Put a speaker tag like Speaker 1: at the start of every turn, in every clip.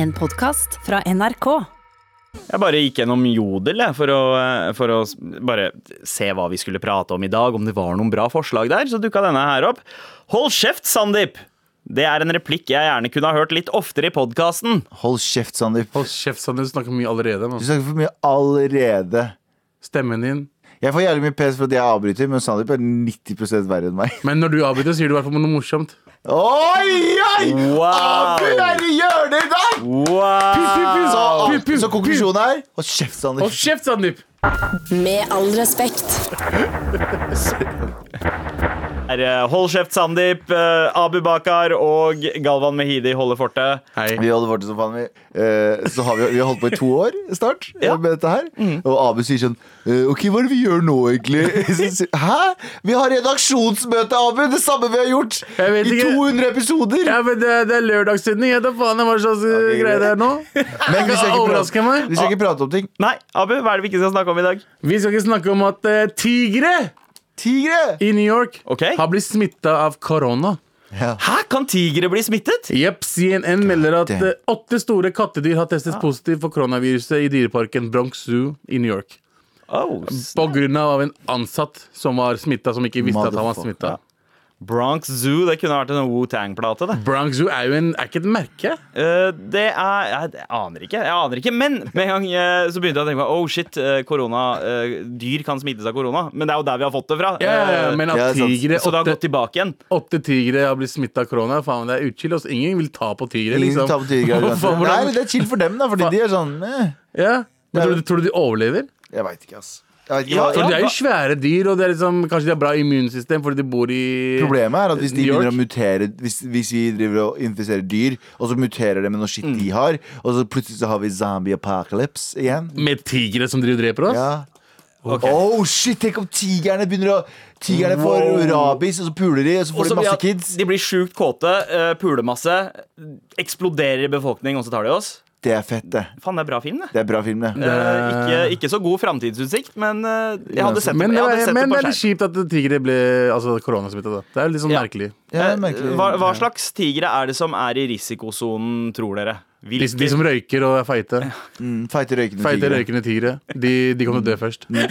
Speaker 1: En podkast fra NRK.
Speaker 2: Jeg bare gikk gjennom Jodel jeg, for, å, for å s- bare se hva vi skulle prate om i dag, om det var noen bra forslag der. Så dukka denne her opp. Hold kjeft, Sandeep! Det er en replikk jeg gjerne kunne ha hørt litt oftere i podkasten.
Speaker 3: Hold kjeft, Sandeep.
Speaker 4: Hold kjeft, Sanne. Du snakker mye allerede. nå.
Speaker 3: Du snakker for mye allerede.
Speaker 4: Stemmen din.
Speaker 3: Jeg får jævlig mye pes for at jeg avbryter, men Sandeep er 90 verre enn meg.
Speaker 4: Men når du avbryter, sier du i hvert fall noe morsomt.
Speaker 3: Oi, oi!
Speaker 2: Wow.
Speaker 3: Abu er i hjørnet i dag! Så, ah,
Speaker 2: Wow!
Speaker 4: Pu, pu,
Speaker 3: så konklusjonen er Hold kjeft,
Speaker 4: Hold
Speaker 3: Sandeep.
Speaker 4: kjeft, Sandeep!
Speaker 1: Med all respekt.
Speaker 2: Er, eh, Hold kjeft, Sandeep. eh, Abu Bakar og Galvan Mehidi holder fortet.
Speaker 4: Hei.
Speaker 3: Vi holder fortet som faen, vi. Eh, så har vi, vi har holdt på i to år snart eh,
Speaker 2: Ja.
Speaker 3: med dette her.
Speaker 4: Mm.
Speaker 3: Og Abu sier sånn eh, OK, hva er det vi gjør nå, egentlig? Så sier- Hæ? Vi har redaksjonsmøte, Abu! Det samme vi har gjort
Speaker 4: Jeg vet
Speaker 3: i
Speaker 4: ikke.
Speaker 3: 200 episoder!
Speaker 4: Ja, men det, er- det er lørdagssending. Jeg vet da faen hva slags uh, greie det er nå.
Speaker 3: Men vi skal, ikke
Speaker 4: Overrasker
Speaker 3: prate,
Speaker 4: meg.
Speaker 3: vi skal ikke prate om ting.
Speaker 2: Nei, Abu, hva er det vi ikke skal snakke om i dag?
Speaker 4: Vi skal ikke snakke om at eh, tigre
Speaker 3: Tigre!
Speaker 4: i New York
Speaker 2: Ok.
Speaker 4: har blitt smitta av korona.
Speaker 2: Hæ, kan tigre bli smittet?
Speaker 4: Jepp, CNN melder at
Speaker 3: Damn. Ah.
Speaker 4: eh, åtte store kattedyr har testet positivt for koronaviruset i dyreparken Bronx Zoo i New York.
Speaker 2: Oh, s-
Speaker 4: På grunn av en ansatt som var smitta, som ikke visste at han var
Speaker 3: Motherfucker.
Speaker 4: smitta.
Speaker 2: Bronx Zoo, det kunne vært en Wu-Tang-plate, det.
Speaker 4: Bronx Zoo er jo en, er ikke et merke.
Speaker 2: Eh, det er jeg, jeg aner ikke. Jeg aner ikke Men med en gang eh, så begynte jeg å tenke meg Oh shit, eh, korona eh, dyr kan smittes av korona. Men det er jo der vi har fått det fra.
Speaker 4: Ja, ja, ja, men
Speaker 3: ja,
Speaker 4: at
Speaker 3: sant.
Speaker 2: Eh,
Speaker 4: tigre,
Speaker 2: så det har
Speaker 4: åtte,
Speaker 2: gått tilbake igjen.
Speaker 4: åtte tigre har blitt smitta av korona, faen, det er utchill. ass. Ingen vil ta på tigre,
Speaker 3: Ingen
Speaker 4: liksom.
Speaker 3: tar på tigre,
Speaker 4: Hva faen,
Speaker 3: Nei,
Speaker 4: hvordan-
Speaker 3: det er chill for dem, da, fordi de er sånn eh.
Speaker 4: Ja. Men tror, du, tror du de overlever?
Speaker 3: Jeg veit ikke, ass. Jeg vet ikke
Speaker 2: Ja,
Speaker 3: hva,
Speaker 4: For
Speaker 2: ja.
Speaker 4: De er jo svære dyr, og det er liksom, kanskje de har bra immunsystem fordi de bor i
Speaker 3: Problemet er at hvis de
Speaker 4: New York.
Speaker 3: begynner å mutere hvis, hvis vi driver og infiserer dyr, og så muterer det med noe skitt
Speaker 4: Mm.
Speaker 3: de har, og så plutselig så har vi zombie apocalypse igjen.
Speaker 4: Med tigre som driver og dreper oss?
Speaker 3: Ja. Oh shit, tenk om tigerne begynner å Tigerne får
Speaker 2: Wow.
Speaker 3: rabies, og så puler de, og så får
Speaker 2: Også
Speaker 3: de
Speaker 2: blir
Speaker 3: masse
Speaker 2: at
Speaker 3: kids.
Speaker 2: De blir sjukt kåte, eh, puler masse, eksploderer i befolkning, og så tar de oss.
Speaker 3: Det er fett, det.
Speaker 2: Faen, det er bra film, det.
Speaker 3: Det er bra film, det.
Speaker 2: Eh, ikke, ikke så god framtidsutsikt, men eh, jeg hadde sett det,
Speaker 4: Men,
Speaker 2: jeg hadde
Speaker 4: det,
Speaker 2: sett
Speaker 4: men
Speaker 2: det
Speaker 4: det
Speaker 2: på
Speaker 4: er litt
Speaker 2: skjerm.
Speaker 4: kjipt at tigre ble altså, koronasmitta. da. Det er litt sånn
Speaker 2: Ja.
Speaker 4: merkelig.
Speaker 3: Ja, det er
Speaker 2: Eh,
Speaker 3: merkelig.
Speaker 2: Hva, hva slags tigre er det som er i risikosonen, tror dere?
Speaker 4: De, de som røyker og er feite.
Speaker 3: Mm, Feite røykende
Speaker 4: Feite,
Speaker 3: tigre.
Speaker 4: røykende tigre. De, de kommer til å dø først. Du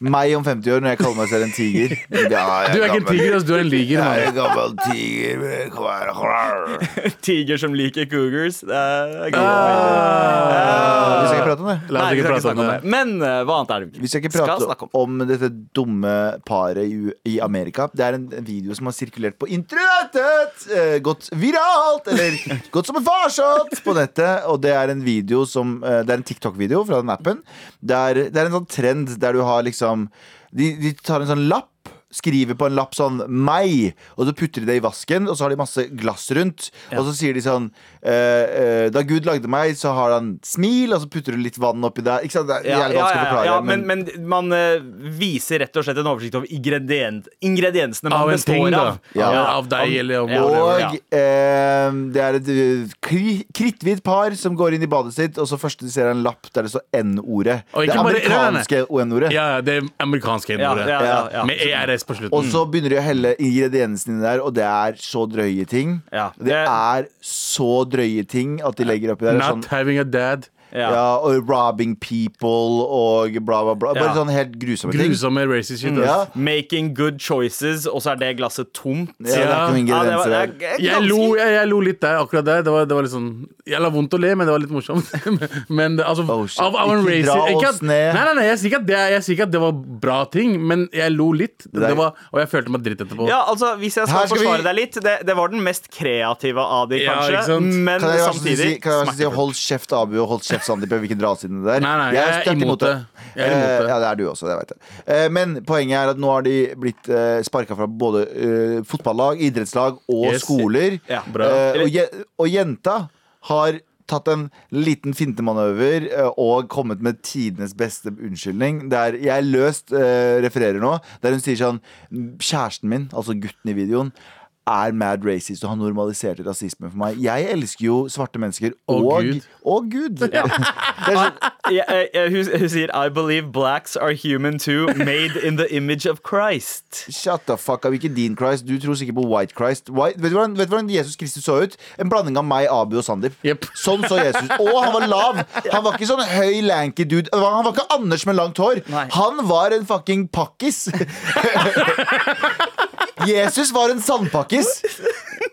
Speaker 3: Meg om 50 år når jeg kaller meg selv en tiger. Ja, jeg
Speaker 4: er ikke en
Speaker 3: gammel.
Speaker 4: tiger, ass, du er en
Speaker 3: Jeg
Speaker 4: liger.
Speaker 3: er
Speaker 4: mann.
Speaker 3: en gammel tiger. Kom her.
Speaker 2: Tiger som liker cougars. Det er, det er gøy.
Speaker 3: Vi skal ikke prate om det.
Speaker 4: Ah. La oss
Speaker 2: Nei, vi
Speaker 4: ikke
Speaker 2: skal
Speaker 4: prate om det.
Speaker 2: Men eh, hva annet er det
Speaker 3: Vi skal ikke prate
Speaker 2: snakke om?
Speaker 3: om. dette dumme paret i, U- i Amerika. Det er en en video som har sirkulert på internettet! Eh, gått viralt, eller gått som en farsott på nettet. Og det er en video som eh, Det er en TikTok-video fra den appen. Det er, det er en sånn trend der du har liksom De, de tar en sånn lapp. Skriver på en lapp sånn 'meg', og så putter de det i vasken. Og så har de masse glass rundt. Og så sier de sånn eh, eh, 'Da Gud lagde meg, så har han smil', og så putter du litt vann oppi der. Ikke sant? Det er
Speaker 2: Ja,
Speaker 3: jævlig
Speaker 2: ja,
Speaker 3: vanskelig å
Speaker 2: ja,
Speaker 3: forklare.
Speaker 2: ja, men, men man eh, viser rett og slett en oversikt over ingredient, ingrediensene man
Speaker 4: Av en
Speaker 2: består
Speaker 4: ting, da.
Speaker 2: av.
Speaker 3: Ja.
Speaker 4: Av- Av deg eller om
Speaker 2: Ja.
Speaker 3: Og
Speaker 2: Ja.
Speaker 3: eh, det er et eh, kri- kritthvitt par som går inn i badet sitt, og så først de ser en lapp der det står N-ordet.
Speaker 4: Og
Speaker 3: Det
Speaker 4: ikke bare-
Speaker 3: amerikanske N-ordet.
Speaker 4: Ja, ja, det amerikanske
Speaker 2: Ja,
Speaker 4: ordet.
Speaker 2: ja, ja, ja.
Speaker 4: Med ERS på slutten.
Speaker 3: Og så begynner de å helle ingrediensene inn der, og det er så drøye ting.
Speaker 2: Ja.
Speaker 3: Det er så drøye ting at de legger oppi der. Det er Sånn,
Speaker 4: Not having a dad.
Speaker 2: Ja.
Speaker 3: ja, og robbing people og bla, bla, bla. Bare
Speaker 2: Ja.
Speaker 3: sånn helt grusomme ting.
Speaker 4: Grusomme racist shit. ass.
Speaker 3: Mm. Ja.
Speaker 2: Making good choices, og så er det glasset tomt.
Speaker 3: Ja, det er ikke noen
Speaker 2: Ja, det var- det
Speaker 3: ingredienser
Speaker 2: er
Speaker 3: der.
Speaker 2: ganske-
Speaker 4: Jeg lo, jeg, jeg lo litt der, akkurat der. Det var, det var litt sånn Jeg la vondt å le, men det var litt morsomt. men det- altså
Speaker 3: Oh, shit.
Speaker 4: av, av en
Speaker 3: Ikke dra
Speaker 4: racist- ikke
Speaker 3: oss
Speaker 4: at-
Speaker 3: ned.
Speaker 4: Nei, nei, nei, jeg sier ikke at det, er- jeg sier ikke at det var bra ting, men jeg lo litt. Det,
Speaker 3: er-
Speaker 4: var, og jeg følte meg dritt etterpå.
Speaker 2: Ja, altså, Hvis jeg skal,
Speaker 3: Her skal vi-
Speaker 2: forsvare deg litt, det, det var den mest kreative av de,
Speaker 4: Ja,
Speaker 2: kanskje.
Speaker 4: ikke sant?
Speaker 2: men
Speaker 3: Kan jeg være så snill å
Speaker 2: samtidig
Speaker 3: si, kan jeg være så snill å si
Speaker 2: smertefull.
Speaker 3: hold kjeft Abu og hold kjeft Sandeep? Jeg vil ikke dra oss inn i det der.
Speaker 4: Nei, nei, jeg er
Speaker 3: sterkt
Speaker 4: imot det. Jeg er imot det.
Speaker 3: Eh, ja, det er du også, det vet jeg. Eh, men poenget er at nå har de blitt eh, sparka fra både eh, fotballag, idrettslag og
Speaker 4: Yes.
Speaker 3: skoler.
Speaker 2: Ja,
Speaker 4: bra.
Speaker 3: Eh, og, je- og jenta har tatt en liten fintemanøver eh, og kommet med tidenes beste unnskyldning. Der jeg løst eh, refererer nå, der hun sier sånn Kjæresten min, altså gutten i videoen er mad racist og har normalisert rasisme for meg. Jeg elsker jo svarte mennesker
Speaker 4: Og
Speaker 3: og,
Speaker 4: Gud.
Speaker 3: og Gud. Det er sånn,
Speaker 2: Ja, eh, eh, hun, hun sier I believe blacks are human too, made in the image of Christ.
Speaker 3: Shut the fuck up, ikke din Christ. Du tror sikkert på White Christ. White, vet, du hvordan, vet du hvordan Jesus Kristus så ut? En blanding av meg, Abu og Sandeep.
Speaker 4: Jep.
Speaker 3: Sånn så Jesus. Og han var lav. Han var ikke sånn høy, lanky dude. Han var- han var ikke Anders med langt hår.
Speaker 2: Nei.
Speaker 3: Han var en fucking pakkis. Jesus var en sandpakkis.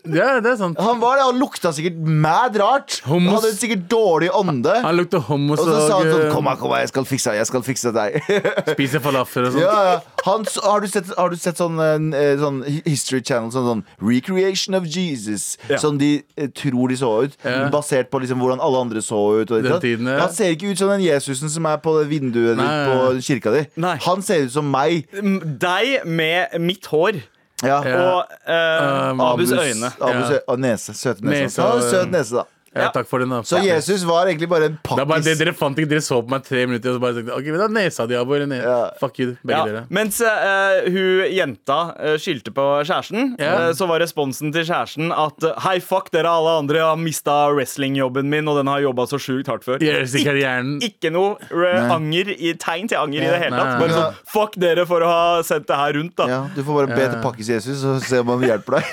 Speaker 4: Ja, det er sant.
Speaker 3: Han var det, han lukta sikkert mad rart. Han
Speaker 4: Hummus.
Speaker 3: hadde sikkert dårlig ånde.
Speaker 4: Han lukter hummus
Speaker 3: Og så sa han sånn
Speaker 4: eh,
Speaker 3: Kom her, kom her, jeg skal fikse, jeg skal fikse deg.
Speaker 4: spiser falafel og sånt.
Speaker 3: ja, ja. Han, s- har, du sett, har du sett sånn, eh, sånn hi- History Channel, sånn, sånn Recreation of Jesus,
Speaker 2: Ja.
Speaker 3: som de eh, tror de så ut,
Speaker 4: Ja.
Speaker 3: basert på liksom hvordan alle andre så ut. Og,
Speaker 4: Den
Speaker 3: sant?
Speaker 4: tiden, ja.
Speaker 3: Han ser ikke ut som den Jesusen som er på det vinduet ditt
Speaker 4: Nei.
Speaker 3: på kirka di.
Speaker 2: Nei.
Speaker 3: Han ser ut som meg.
Speaker 2: Mm, Deg med mitt hår
Speaker 3: Ja.
Speaker 4: Ja.
Speaker 2: og eh,
Speaker 4: Um,
Speaker 2: Abus
Speaker 3: Abus-
Speaker 2: øyne.
Speaker 3: Abus,
Speaker 4: Ja.
Speaker 3: Og nese. Søte nese.
Speaker 4: Nese
Speaker 3: Ja,
Speaker 4: og-
Speaker 3: søt nese, da.
Speaker 4: Ja,
Speaker 2: Ja.
Speaker 4: takk for den, da.
Speaker 3: Så Jesus var egentlig bare en
Speaker 4: Det er bare det,
Speaker 3: pakkis.
Speaker 4: Dere fant ikke, dere så på meg tre minutter og så bare tenkte OK, da nesa di, Abo. Eller ne
Speaker 3: Ja.
Speaker 4: Fuck you, begge
Speaker 2: Ja,
Speaker 4: dere.
Speaker 2: mens eh, hun jenta eh, skyldte på kjæresten,
Speaker 4: Ja.
Speaker 2: eh, så var responsen til kjæresten at eh, Hei, fuck dere alle andre, jeg har mista wrestlingjobben min, og den har jeg jobba så sjukt hardt før.
Speaker 4: De elsker
Speaker 2: Ikke-
Speaker 4: karrieren.
Speaker 2: Ikke noe eh, anger i, tegn til anger i det hele tatt.
Speaker 4: Nei.
Speaker 2: Bare
Speaker 3: Ja.
Speaker 2: sånn Fuck dere for å ha sendt det her rundt, da.
Speaker 3: Ja, du får bare be til pakkis Jesus, så ser man hjelper deg.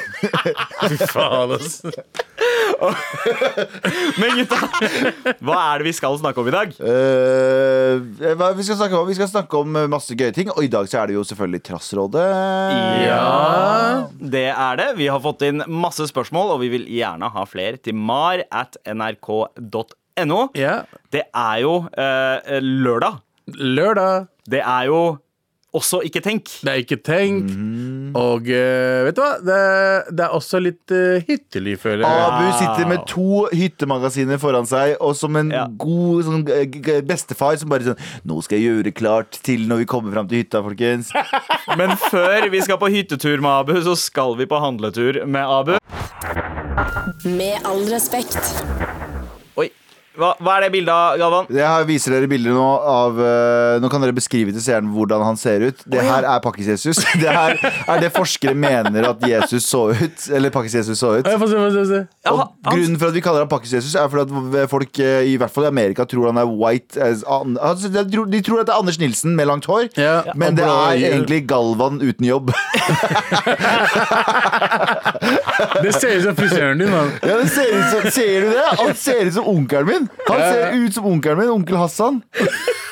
Speaker 4: Fy faen, ass.
Speaker 2: Men gutta, hva er det vi skal snakke om i dag?
Speaker 3: Eh, hva vi skal snakke om? Vi skal snakke om eh, masse gøye ting, og i dag så er det jo selvfølgelig Trassrådet.
Speaker 2: Ja, det er det. Vi har fått inn masse spørsmål, og vi vil gjerne ha flere til mar at nrk.no.
Speaker 4: Ja.
Speaker 2: Det er jo eh, lørdag.
Speaker 4: Lørdag.
Speaker 2: Det er jo også Ikke tenk.
Speaker 4: Det er ikke tenkt. Og eh, vet du hva? Det, det er også litt eh, hyttelig, føler jeg.
Speaker 3: Abu sitter med to hyttemagasiner foran seg, og som en
Speaker 2: Ja.
Speaker 3: god sånn, eh, g- g- bestefar som bare sånn Nå skal jeg gjøre klart til når vi kommer fram til hytta, folkens.
Speaker 2: Men før vi skal på hyttetur med Abu, så skal vi på handletur med Abu.
Speaker 1: Med all respekt.
Speaker 2: Oi. Hva, hva er det bildet av, Galvan?
Speaker 3: Jeg har- viser dere bilder nå av eh, Nå kan dere beskrive til seeren hvordan han ser ut. Det her er Pakkis-Jesus. Det her er det forskere mener at Jesus så ut. Eller Pakkis-Jesus så ut.
Speaker 4: Ja, Få se, få se. få se.
Speaker 2: Ja,
Speaker 3: Og
Speaker 2: han- han-
Speaker 3: grunnen for at vi kaller ham Pakkis-Jesus, er fordi at folk eh, i hvert fall i Amerika tror han er white as an altså, de tror- De tror at det er Anders Nilsen med langt hår,
Speaker 4: Ja, og
Speaker 3: men det
Speaker 4: blå
Speaker 3: er
Speaker 4: øyne.
Speaker 3: egentlig Galvan uten jobb.
Speaker 4: Det ser ut som frisøren din, mann.
Speaker 3: ja, det ser, ut som, ser du det? Han ser ut som onkelen min! Han ser ut som onkelen min, onkel Hassan.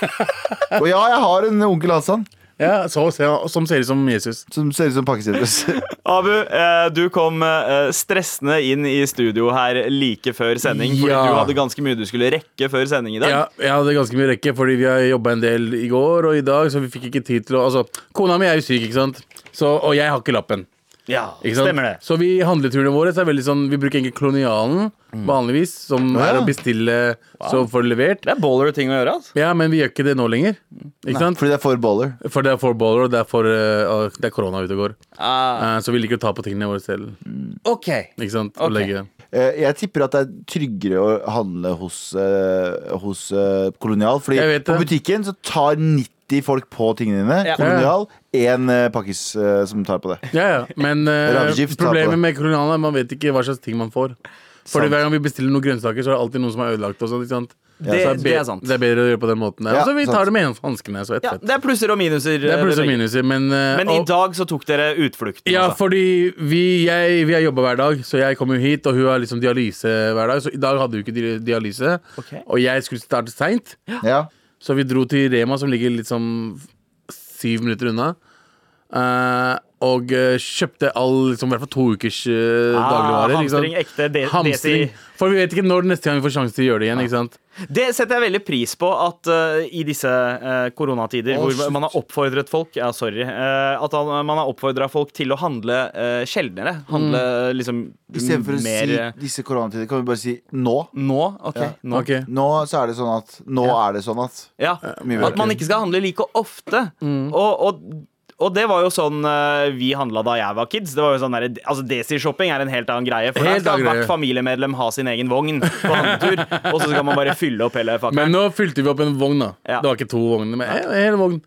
Speaker 3: Og ja, jeg har en onkel Hassan
Speaker 4: Ja, så, ser- som ser ut som Jesus.
Speaker 3: som ser ut som Pakkis-Jesus.
Speaker 2: Abu, eh, du kom eh, stressende inn i studio her like før sending. Fordi
Speaker 4: Ja.
Speaker 2: du hadde ganske mye du skulle rekke før sending i dag.
Speaker 4: Ja, jeg hadde ganske mye rekke, fordi vi har jobba en del i går og i dag, så vi fikk ikke tid til å Altså, kona mi er jo syk, ikke sant, så, og jeg har ikke lappen.
Speaker 2: Ja,
Speaker 4: Ikke sant?
Speaker 2: Stemmer det.
Speaker 4: Så vi handleturene våre så er veldig sånn Vi bruker egentlig kolonialen
Speaker 2: Mm.
Speaker 4: vanligvis, som er å bestille så får det levert.
Speaker 2: Det er baller ting å gjøre. altså
Speaker 4: Ja, men vi gjør ikke det nå lenger. Ikke sant?
Speaker 3: Fordi det er for baller.
Speaker 4: For det er for baller, og det er, for, eh, og det er korona ute og går.
Speaker 2: Ah, Mm.
Speaker 4: Eh, så vi liker å ta på tingene våre selv.
Speaker 2: ok
Speaker 4: Ikke sant?
Speaker 2: Ok.
Speaker 4: Og legge
Speaker 3: Eh, Jeg tipper at det er tryggere å handle hos, eh, hos eh, Kolonial. Fordi
Speaker 4: Jeg vet
Speaker 3: på
Speaker 4: det.
Speaker 3: butikken så tar 90 folk på tingene dine.
Speaker 2: Ja.
Speaker 3: Kolonial, én eh, pakkis eh, som tar på det.
Speaker 4: Ja, ja. Men eh,
Speaker 3: Ravgift, ta på
Speaker 4: problemet
Speaker 3: det.
Speaker 4: med kolonialen er at man vet ikke hva slags ting man får. Fordi
Speaker 3: Sant.
Speaker 4: Hver gang vi bestiller noen grønnsaker, så er det alltid noen som er ødelagt. Og sånt, ikke sant?
Speaker 2: Det-
Speaker 4: Så
Speaker 2: det
Speaker 4: be-
Speaker 2: er sant.
Speaker 4: det er bedre å gjøre på den måten. der.
Speaker 3: Ja,
Speaker 4: og så vi
Speaker 3: sant.
Speaker 4: tar det med en- hanskene. Så ett
Speaker 2: ja,
Speaker 4: fett.
Speaker 2: Det er plusser og minuser.
Speaker 4: Det er
Speaker 2: eh,
Speaker 4: plusser og
Speaker 2: dere.
Speaker 4: minuser, men, eh,
Speaker 2: Men i
Speaker 4: og-
Speaker 2: dag så tok dere utflukten.
Speaker 4: Ja,
Speaker 2: altså.
Speaker 4: fordi vi, jeg, vi har jobba hver dag, så jeg kom jo hit, og hun har liksom dialyse hver dag. Så i dag hadde hun ikke dia- dialyse,
Speaker 2: Ok.
Speaker 4: og jeg skulle starte seint.
Speaker 3: Ja.
Speaker 4: Så vi dro til Rema, som ligger liksom syv minutter unna. eh, og eh, kjøpte all liksom, i hvert fall to ukers eh,
Speaker 2: Ah,
Speaker 4: dagligvarer. ikke sant?
Speaker 2: hamstring, eh, ekte de
Speaker 4: Hamstring.
Speaker 2: desi.
Speaker 4: For vi vet ikke når neste gang vi får sjanse til å gjøre det igjen. ikke sant?
Speaker 2: Det setter jeg veldig pris på at eh, i disse eh, koronatider
Speaker 3: Å,
Speaker 2: hvor
Speaker 3: slutt.
Speaker 2: man har oppfordret folk Ja, sorry. eh, at han, man har oppfordra folk til å handle eh, sjeldnere. Handle
Speaker 4: Mm.
Speaker 2: eh, liksom
Speaker 3: Istedenfor å
Speaker 2: mer
Speaker 3: si
Speaker 2: eh,
Speaker 3: disse koronatider, kan vi bare si nå.
Speaker 2: nå. OK.
Speaker 3: Ja.
Speaker 2: Nå.
Speaker 4: Ok.
Speaker 3: Nå så er det sånn at Nå er det sånn at
Speaker 2: Ja,
Speaker 3: mye bedre.
Speaker 2: At man ikke skal handle like ofte.
Speaker 4: Mm.
Speaker 2: Og, og, og det var jo sånn eh, vi handla da jeg var kids. Det var jo sånn der, altså Desi-shopping er en helt annen greie. For
Speaker 4: Helt
Speaker 2: der skal
Speaker 4: annen
Speaker 2: hvert
Speaker 4: greie.
Speaker 2: familiemedlem ha sin egen vogn på handletur. og så skal man bare fylle opp hele fakta.
Speaker 4: Men nå fylte vi opp en vogn, da.
Speaker 2: Ja. Mm.
Speaker 4: Det var ikke to vogner, men en, en hel vogn.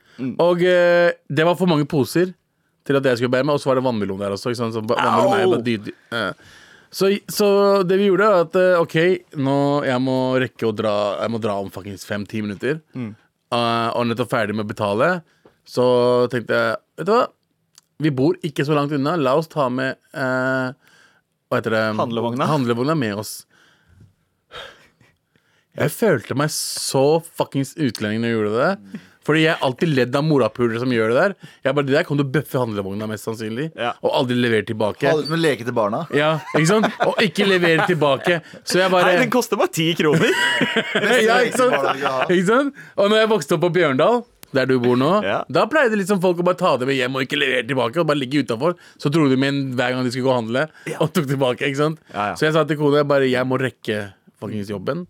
Speaker 4: Og eh, det var for mange poser til at jeg skulle bære meg, og så var det vannmelon der også. Ikke sant? Så ba- vannmelon er jo
Speaker 2: Au!
Speaker 4: bare dyd, eh. så, så det vi gjorde, var at eh, OK, nå jeg må rekke å dra Jeg må dra om fuckings fem-ti minutter.
Speaker 2: Mm.
Speaker 4: Eh, og nettopp ferdig med å betale, så tenkte jeg Vet du hva, vi bor ikke så langt unna. La oss ta med eh, Hva heter det?
Speaker 2: Handlevogna.
Speaker 4: Handlevogna med oss. Jeg følte meg så fuckings utlending når jeg gjorde det. Fordi jeg er alltid ledd av morapulere som gjør det der. Jeg bare, Det der kan du bøffe handlevogna, mest sannsynlig.
Speaker 2: Ja.
Speaker 4: Og aldri levere tilbake.
Speaker 3: Alle som leker til barna.
Speaker 4: Ja, ikke sant? Og ikke levere tilbake. Så jeg bare
Speaker 2: Nei, den koster bare ti kroner.
Speaker 4: ja, ikke sant? ikke sant? Og når jeg vokste opp på Bjørndal, der du bor nå,
Speaker 2: Ja.
Speaker 4: da pleide liksom folk å bare ta det med hjem og ikke levere tilbake. Og bare ligge utenfor. Så dro de med en hver gang de skulle gå og handle, og tok tilbake. ikke sant?
Speaker 2: Ja, ja.
Speaker 4: Så jeg sa til kona jeg bare jeg må rekke fuckings jobben.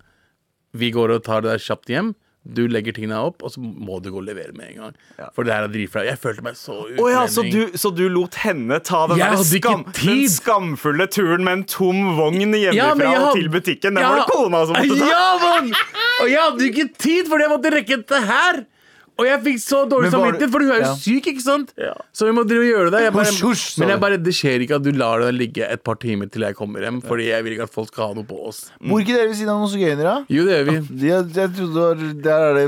Speaker 4: Vi går og tar det der kjapt hjem. Du legger tingene opp, og så må du gå og levere med en gang. For det her er dritflaut. Jeg følte meg så utlending.
Speaker 2: Å ja, så du, så du lot henne ta den,
Speaker 4: Jeg
Speaker 2: der
Speaker 4: hadde ikke
Speaker 2: skam, den
Speaker 4: tid.
Speaker 2: skamfulle turen med en tom vogn
Speaker 4: Ja,
Speaker 2: hjemmefra
Speaker 4: men jeg
Speaker 2: og
Speaker 4: hadde-
Speaker 2: til butikken? Den
Speaker 4: Ja.
Speaker 2: var det kona som måtte ta!
Speaker 4: Ja, mann! Og jeg hadde jo ikke tid, fordi jeg måtte rekke dette her. Og jeg fikk så dårlig
Speaker 3: Men var du-
Speaker 4: samvittighet, for du er jo
Speaker 3: Ja.
Speaker 4: syk, ikke sant?
Speaker 2: Ja.
Speaker 4: Så vi må drive og gjøre det. Jeg bare,
Speaker 3: Husj, husj, sa
Speaker 4: men jeg
Speaker 3: du.
Speaker 4: bare, det skjer ikke at du lar det ligge et par timer til jeg kommer hjem, fordi jeg vil ikke at folk skal ha noe på oss.
Speaker 3: Bor ikke dere ved siden av noen sigøynere?
Speaker 4: Jo, det gjør vi.
Speaker 3: De- Jeg, jeg trodde det var, Der er det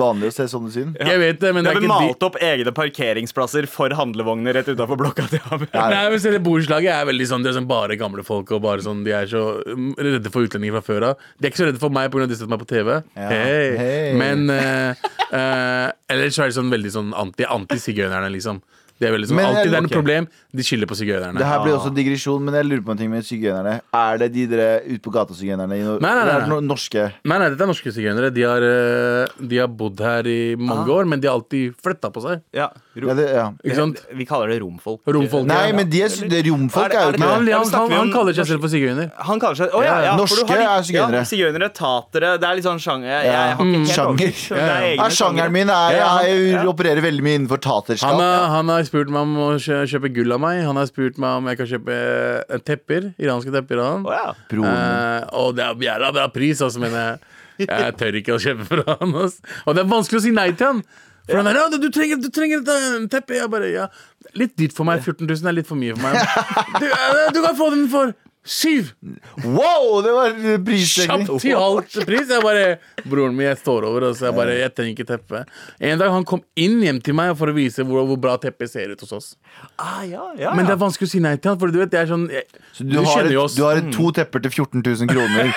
Speaker 3: vanlig å se sånne syn.
Speaker 4: Jeg vet det, men
Speaker 2: Det
Speaker 4: det er
Speaker 2: ble
Speaker 4: ikke de
Speaker 2: malt opp egne parkeringsplasser for handlevogner rett utafor blokka til ham.
Speaker 3: Ja.
Speaker 4: Nei, men selv det borettslaget er veldig sånn Det er sånn bare gamle folk Og bare sånn De er så um, redde for utlendinger fra før av De er ikke så redde for meg På grunn av at de setter meg på TV Hei
Speaker 3: Hei.
Speaker 4: Men eh, eh, Ellers så er det sånn veldig sånn anti Anti-sigøynerne liksom Det er veldig sånn
Speaker 3: Men, eh,
Speaker 4: Altid det er
Speaker 3: ok.
Speaker 4: noe problem De skylder på sigøynerne
Speaker 3: Det her blir også en digresjon, men jeg lurer på en ting med sigøynerne. Er det de dere ute på gata-sigøynerne? i no-
Speaker 4: Nei, nei,
Speaker 3: eller
Speaker 4: nei,
Speaker 3: Er det
Speaker 4: nei.
Speaker 3: no norske?
Speaker 4: Nei, nei, dette er norske sigøynere De har, eh, de har bodd her i mange år Men de har alltid flyttet på seg
Speaker 2: Ja,
Speaker 3: Ja,
Speaker 2: rom,
Speaker 3: det, Ah. ja.
Speaker 4: Ikke sant?
Speaker 2: Eh, Vi kaller det romfolk.
Speaker 4: Romfolk
Speaker 3: Nei, men de er, det er romfolk er jo
Speaker 2: Er
Speaker 3: ikke
Speaker 4: han,
Speaker 3: det.
Speaker 2: Ja, men
Speaker 4: han,
Speaker 2: snakker
Speaker 4: han,
Speaker 2: vi om
Speaker 4: han kaller seg
Speaker 2: norsk-
Speaker 4: selv for sigøyner
Speaker 2: Han kaller seg Å ja,
Speaker 3: Ja,
Speaker 2: ja,
Speaker 3: ja.
Speaker 2: for du har
Speaker 3: Norske
Speaker 2: litt-
Speaker 3: er sigøynere.
Speaker 2: Ja, sigøynere, tatere. Det er litt sånn sjanger. Jeg, jeg har
Speaker 4: Mm.
Speaker 2: ikke helt
Speaker 3: Sjanger.
Speaker 2: oversikt, men det er egne
Speaker 3: Ja, sjangeren min er
Speaker 4: Ja,
Speaker 3: Jeg, opererer veldig mye innenfor taterskap.
Speaker 4: Han, har- han har spurt meg om å kjø- kjøpe gull av meg. Han har spurt meg om jeg kan kjøpe eh, tepper. Iranske tepper av han.
Speaker 2: Å ja.
Speaker 3: Broren min.
Speaker 4: Eh, og det er jævla bra pris, altså, men jeg, jeg tør ikke å kjøpe fra han. ass. Og det er vanskelig å si nei til han. For han er, ja, du trenger, du trenger et eh, teppe. Jeg bare, ja. Litt dyrt for meg. 14 000 er litt for mye for meg. Du, eh, du kan få den for syv!
Speaker 3: Wow, det var prisstegning!
Speaker 4: Kjapt til halv pris. Jeg bare Broren min, jeg står over, og så jeg bare Jeg trenger ikke teppe. En dag han kom inn hjem til meg for å vise hvor, hvor bra teppet ser ut hos oss.
Speaker 2: Ah, ja, ja,
Speaker 4: Men det
Speaker 2: ja.
Speaker 4: er vanskelig å si nei til han, for du vet, det er sånn jeg,
Speaker 3: Så
Speaker 4: du,
Speaker 3: har
Speaker 4: kjenner jo
Speaker 3: et,
Speaker 4: oss. Mm.
Speaker 3: du har et to tepper til 14 000 kroner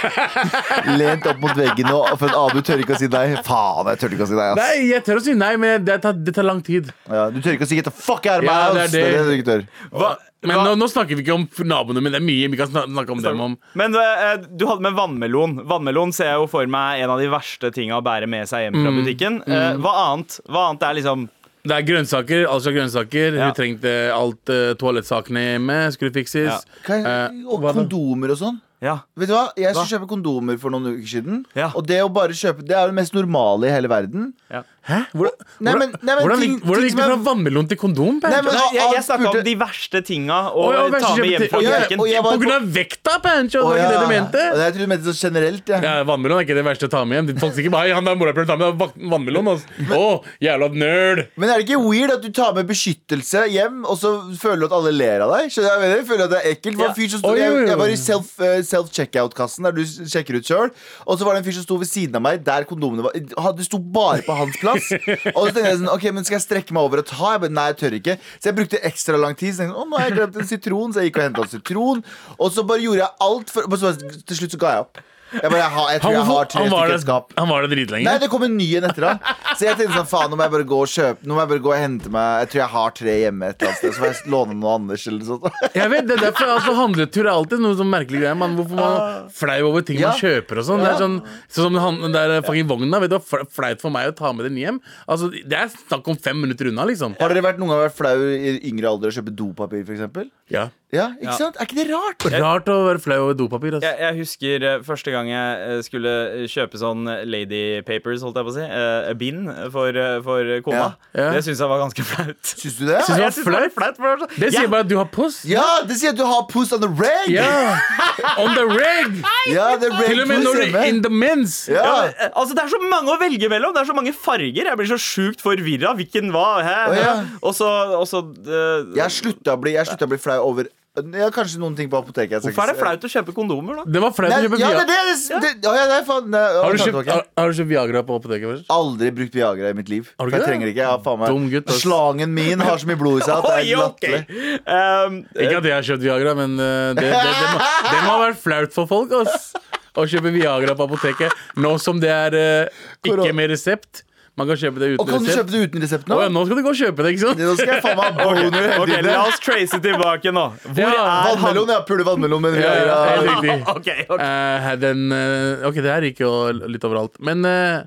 Speaker 3: lent opp mot veggen, og for at Abu tør ikke å si nei. Faen, jeg tør ikke å si nei, ass.
Speaker 4: Nei, jeg tør å si nei, men det tar, det tar lang tid.
Speaker 3: Ja, du tør ikke å si get the fuck out of my
Speaker 4: Ja, det er
Speaker 3: house! Det er det du ikke tør.
Speaker 2: Hva-
Speaker 4: Men
Speaker 2: hva-
Speaker 4: nå, nå snakker vi ikke om naboene, men det er mye vi kan snak- snakke om dem om.
Speaker 2: Men eh, du hadde med vannmelon. Vannmelon ser jeg jo for meg er en av de verste tinga å bære med seg hjem fra
Speaker 4: Mm.
Speaker 2: butikken. Eh, hva annet? Hva annet er liksom
Speaker 4: Det er grønnsaker. Alt slags grønnsaker.
Speaker 2: Ja.
Speaker 4: Hun trengte alt eh, toalettsakene hjemme skulle fikses.
Speaker 2: Ja.
Speaker 3: Kan
Speaker 4: Eh,
Speaker 3: jeg- Og
Speaker 4: hva da?
Speaker 3: kondomer og sånn.
Speaker 2: Ja.
Speaker 3: Vet du hva? Jeg skulle kjøpe kondomer for noen uker siden.
Speaker 2: Ja.
Speaker 3: Og det å bare kjøpe Det er jo det mest normale i hele verden.
Speaker 2: ja.
Speaker 4: Hæ? Hvordan,
Speaker 3: Nei, men- nei, men
Speaker 4: hvordan,
Speaker 3: ting-
Speaker 4: gikk- hvordan
Speaker 3: ting
Speaker 4: gikk
Speaker 3: som
Speaker 4: det
Speaker 3: er-
Speaker 4: fra vannmelon til kondom?
Speaker 3: Nei,
Speaker 4: Nei,
Speaker 3: men-
Speaker 2: Jeg, jeg
Speaker 3: han
Speaker 2: snakka om
Speaker 3: spurte-
Speaker 2: de verste tinga å
Speaker 4: Å, ja, verste
Speaker 2: ta med
Speaker 4: kjøpte-
Speaker 2: hjem fra
Speaker 4: og jeg-
Speaker 2: butikken.
Speaker 3: og jeg-
Speaker 4: på
Speaker 3: var-
Speaker 4: grunn av vekta, Pancho! Det var ikke det du mente.
Speaker 3: Ja, Jeg trodde du mente sånn generelt. Ja.
Speaker 4: Ja, Vannmelon er ikke det verste å ta med hjem. Folk sikkert bare, «Hei, han der morapuleren tar med vak- vannmelon. ass.» Å, jævla nerd!
Speaker 3: Men er det ikke weird at du tar med beskyttelse hjem, og så føler du at alle ler av deg? Skjønner du hva jeg mener? Føler at det er ekkelt. Det var en fyr som sto,
Speaker 4: Oi, oi,
Speaker 3: jeg,
Speaker 4: oi.
Speaker 3: jeg var i self, eh, self-checkout-kassen, der du s- sjekker ut sjøl. Og så var det en fyr som sto ved siden av meg, der kondomene var ha- Det sto bare på hans plass. Og så tenkte jeg sånn, ok, men skal jeg strekke meg over og ta? Jeg bare, Nei, jeg tør ikke. Så jeg brukte ekstra lang tid. Så tenkte jeg, sånn, å, nå har jeg glemt en sitron, så jeg gikk og henta en sitron. Og så bare gjorde jeg alt for og så, bare- Til slutt så ga jeg opp. Jeg bare, jeg, har, jeg tror
Speaker 4: Han,
Speaker 3: jeg har tre
Speaker 4: han, var
Speaker 3: stykker i et skap.
Speaker 4: der, han var der dritlenge.
Speaker 3: Nei, det kom en ny en etter da Så jeg tenkte sånn, faen, nå må jeg bare gå og kjøpe Nå må jeg bare gå og hente meg Jeg tror jeg har tre hjemme et eller annet sted Så får jeg låne noe Anders eller noe sånt
Speaker 4: Jeg vet, det er derfor altså, Handletur er alltid noe sånn merkelig greie. Man, hvorfor man flau over ting
Speaker 3: Ah. Ja.
Speaker 4: man kjøper og sånn. Det er sånn, sånn som han, den der fucking vogna. Vet du, hva flaut for meg å ta med den hjem. Altså, Det er snakk om fem minutter unna, liksom.
Speaker 3: Har dere vært, noen gang vært flau i yngre alder Å kjøpe dopapir for eksempel?
Speaker 4: Ja.
Speaker 3: Ja, ikke sant? Er ikke det rart?
Speaker 4: Rart å være flau over dopapir. Altså.
Speaker 2: Jeg, jeg husker eh, første gang gang jeg eh, skulle kjøpe sånn lady papers, holdt jeg på å si, eh, bind for, eh, for kona.
Speaker 4: Ja. Ja.
Speaker 2: Det syns jeg var ganske flaut.
Speaker 3: Syns du det?
Speaker 4: Syns
Speaker 2: Jeg
Speaker 4: du det var
Speaker 2: synes det var
Speaker 4: flaut?
Speaker 2: flaut for
Speaker 4: Det sier
Speaker 2: Ja.
Speaker 4: bare at du har puss.
Speaker 3: Ja, det sier at du har puss on the reg!
Speaker 4: Ja! On the reg!
Speaker 3: Ja, det er
Speaker 4: Til og med
Speaker 3: puss
Speaker 4: når du
Speaker 3: hjemme.
Speaker 4: er in the mens.
Speaker 3: Ja.
Speaker 2: Ja, men, eh, altså Det er så mange å velge mellom. Det er så mange farger. Jeg blir så sjukt forvirra. Hvilken hva? Hæ?
Speaker 3: Å, ja.
Speaker 2: Og så og så, eh,
Speaker 3: Jeg slutta å bli, jeg slutta å bli flau over ja, Kanskje noen ting på apoteket. jeg skal
Speaker 2: Hvorfor er det
Speaker 3: ikke si-
Speaker 2: flaut å kjøpe kondomer, da?
Speaker 4: Det var flaut
Speaker 3: Nei,
Speaker 4: å kjøpe
Speaker 3: ja, det,
Speaker 4: Viagra.
Speaker 3: er det, det, det, å, ja, nei, faen, nei, å,
Speaker 4: Har du
Speaker 3: ta
Speaker 4: kjøpt,
Speaker 3: tilbake.
Speaker 4: har, har du kjøpt Viagra på apoteket? først?
Speaker 3: Aldri brukt Viagra i mitt liv.
Speaker 4: Har du
Speaker 3: For jeg
Speaker 4: ikke det?
Speaker 3: trenger ikke. Jeg har faen meg
Speaker 4: Dum gutt, ass.
Speaker 3: Slangen min har så mye blod i seg at det
Speaker 2: Oi,
Speaker 3: er
Speaker 2: ok.
Speaker 3: latterlig.
Speaker 2: Um,
Speaker 4: Ikke at jeg har kjøpt Viagra, men eh, det, det, det, må, det må ha vært flaut for folk ass, å kjøpe Viagra på apoteket. Nå som det er eh, ikke med resept. Man kan kjøpe det
Speaker 3: Og
Speaker 4: uten
Speaker 3: kan du
Speaker 4: resept.
Speaker 3: kjøpe det uten resept nå?
Speaker 4: Å ja, nå skal du gå og kjøpe det, ikke sant?
Speaker 3: Nå skal jeg faen meg ha boner hele
Speaker 2: eh, ok,
Speaker 3: tiden.
Speaker 2: La oss trace tilbake nå. Hvor
Speaker 4: Ja,
Speaker 2: er han?
Speaker 3: Vannmelon, ja. Pule vannmelon med
Speaker 4: Ja,
Speaker 3: Viagra.
Speaker 4: ja, helt riktig.
Speaker 2: Ok, ok.
Speaker 4: Eh, den, eh, ok, det her gikk jo litt overalt. Men eh,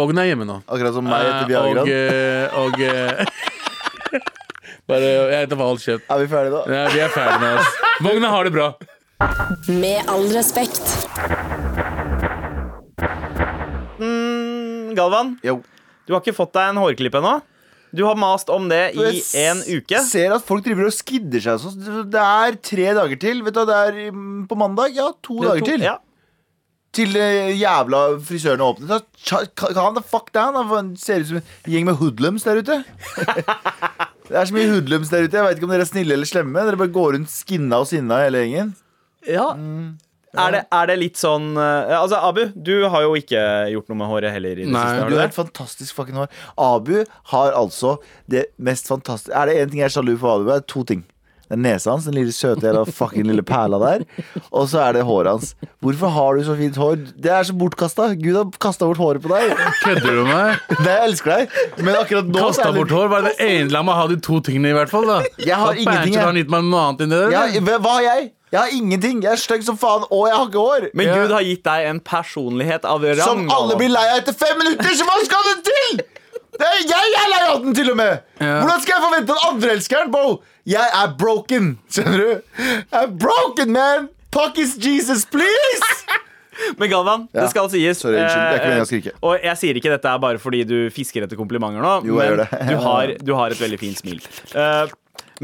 Speaker 4: Vogn er hjemme nå.
Speaker 3: Akkurat som meg etter
Speaker 4: Eh, og
Speaker 3: Viagraen.
Speaker 4: eh, og eh, Bare Jeg heter Val Kjøtt.
Speaker 3: Er vi ferdige da?
Speaker 4: Nei, vi er ferdige med oss. Vogna har det bra.
Speaker 1: Med all respekt.
Speaker 2: Mm, Galvan,
Speaker 3: Jo.
Speaker 2: du har ikke fått deg en hårklipp ennå. Du har mast om det i
Speaker 3: Jeg s-
Speaker 2: en uke.
Speaker 3: Ser at folk driver og skidder seg og sånn. Så Det er tre dager til. Vet du, hva, det er mm, på mandag. Ja, to dager til.
Speaker 2: Ja.
Speaker 3: Til eh, jævla frisørene åpner. Da, tja- ka- Calm the fuck down. da, for Han ser ut som en gjeng med hoodlums der ute. det er så mye hoodlums der ute. Jeg vet ikke om dere er snille eller slemme. Dere bare går rundt skinna og sinna hele gjengen.
Speaker 2: Ja. Er, det, er det litt sånn eh, Altså, Abu, du har jo ikke gjort noe med håret heller. I det
Speaker 4: Nei.
Speaker 2: siste, har
Speaker 3: Du
Speaker 2: du
Speaker 3: har
Speaker 2: det?
Speaker 3: et fantastisk fucking hår. Abu har altså det mest fantastiske Er det én ting jeg er sjalu på Abu? er Det to ting. Det er nesa hans, den lille søte jævla fucking lille perla der. Og så er det håret hans. Hvorfor har du så fint hår? Det er så bortkasta. Gud har kasta bort håret på deg.
Speaker 4: Kødder du med meg?
Speaker 3: Nei, jeg elsker deg, men akkurat nå så er
Speaker 4: Kasta
Speaker 3: det-
Speaker 4: bort hår. Var det ene La meg ha de to tingene, i hvert fall. da
Speaker 3: Jeg har
Speaker 4: At
Speaker 3: ingenting,
Speaker 4: Berntsen
Speaker 3: jeg.
Speaker 4: har gitt meg noe annet enn det der.
Speaker 3: Jeg har- hva har jeg? Jeg har ingenting. Jeg er stygg som faen, og jeg har ikke hår.
Speaker 2: Men
Speaker 4: Ja.
Speaker 2: Gud har gitt deg en personlighet av rang.
Speaker 3: Som alle
Speaker 2: Galvan.
Speaker 3: blir lei av etter fem minutter, så hva skal det til?! Det er jeg er lei av den, til og med!
Speaker 4: Ja.
Speaker 3: Hvordan skal jeg forvente at andre elsker den, bro? Jeg er broken, skjønner du? Jeg er broken, man! Fuck is Jesus, please!
Speaker 2: Men Galvan,
Speaker 3: Ja.
Speaker 2: det skal sies.
Speaker 3: Sorry, unnskyld. Det er ikke meningen å
Speaker 2: eh,
Speaker 3: skrike.
Speaker 2: Og jeg sier ikke dette er bare fordi du fisker etter komplimenter nå,
Speaker 3: Jo,
Speaker 2: men
Speaker 3: jeg gjør det.
Speaker 2: du, har, du har et veldig fint smil. Eh,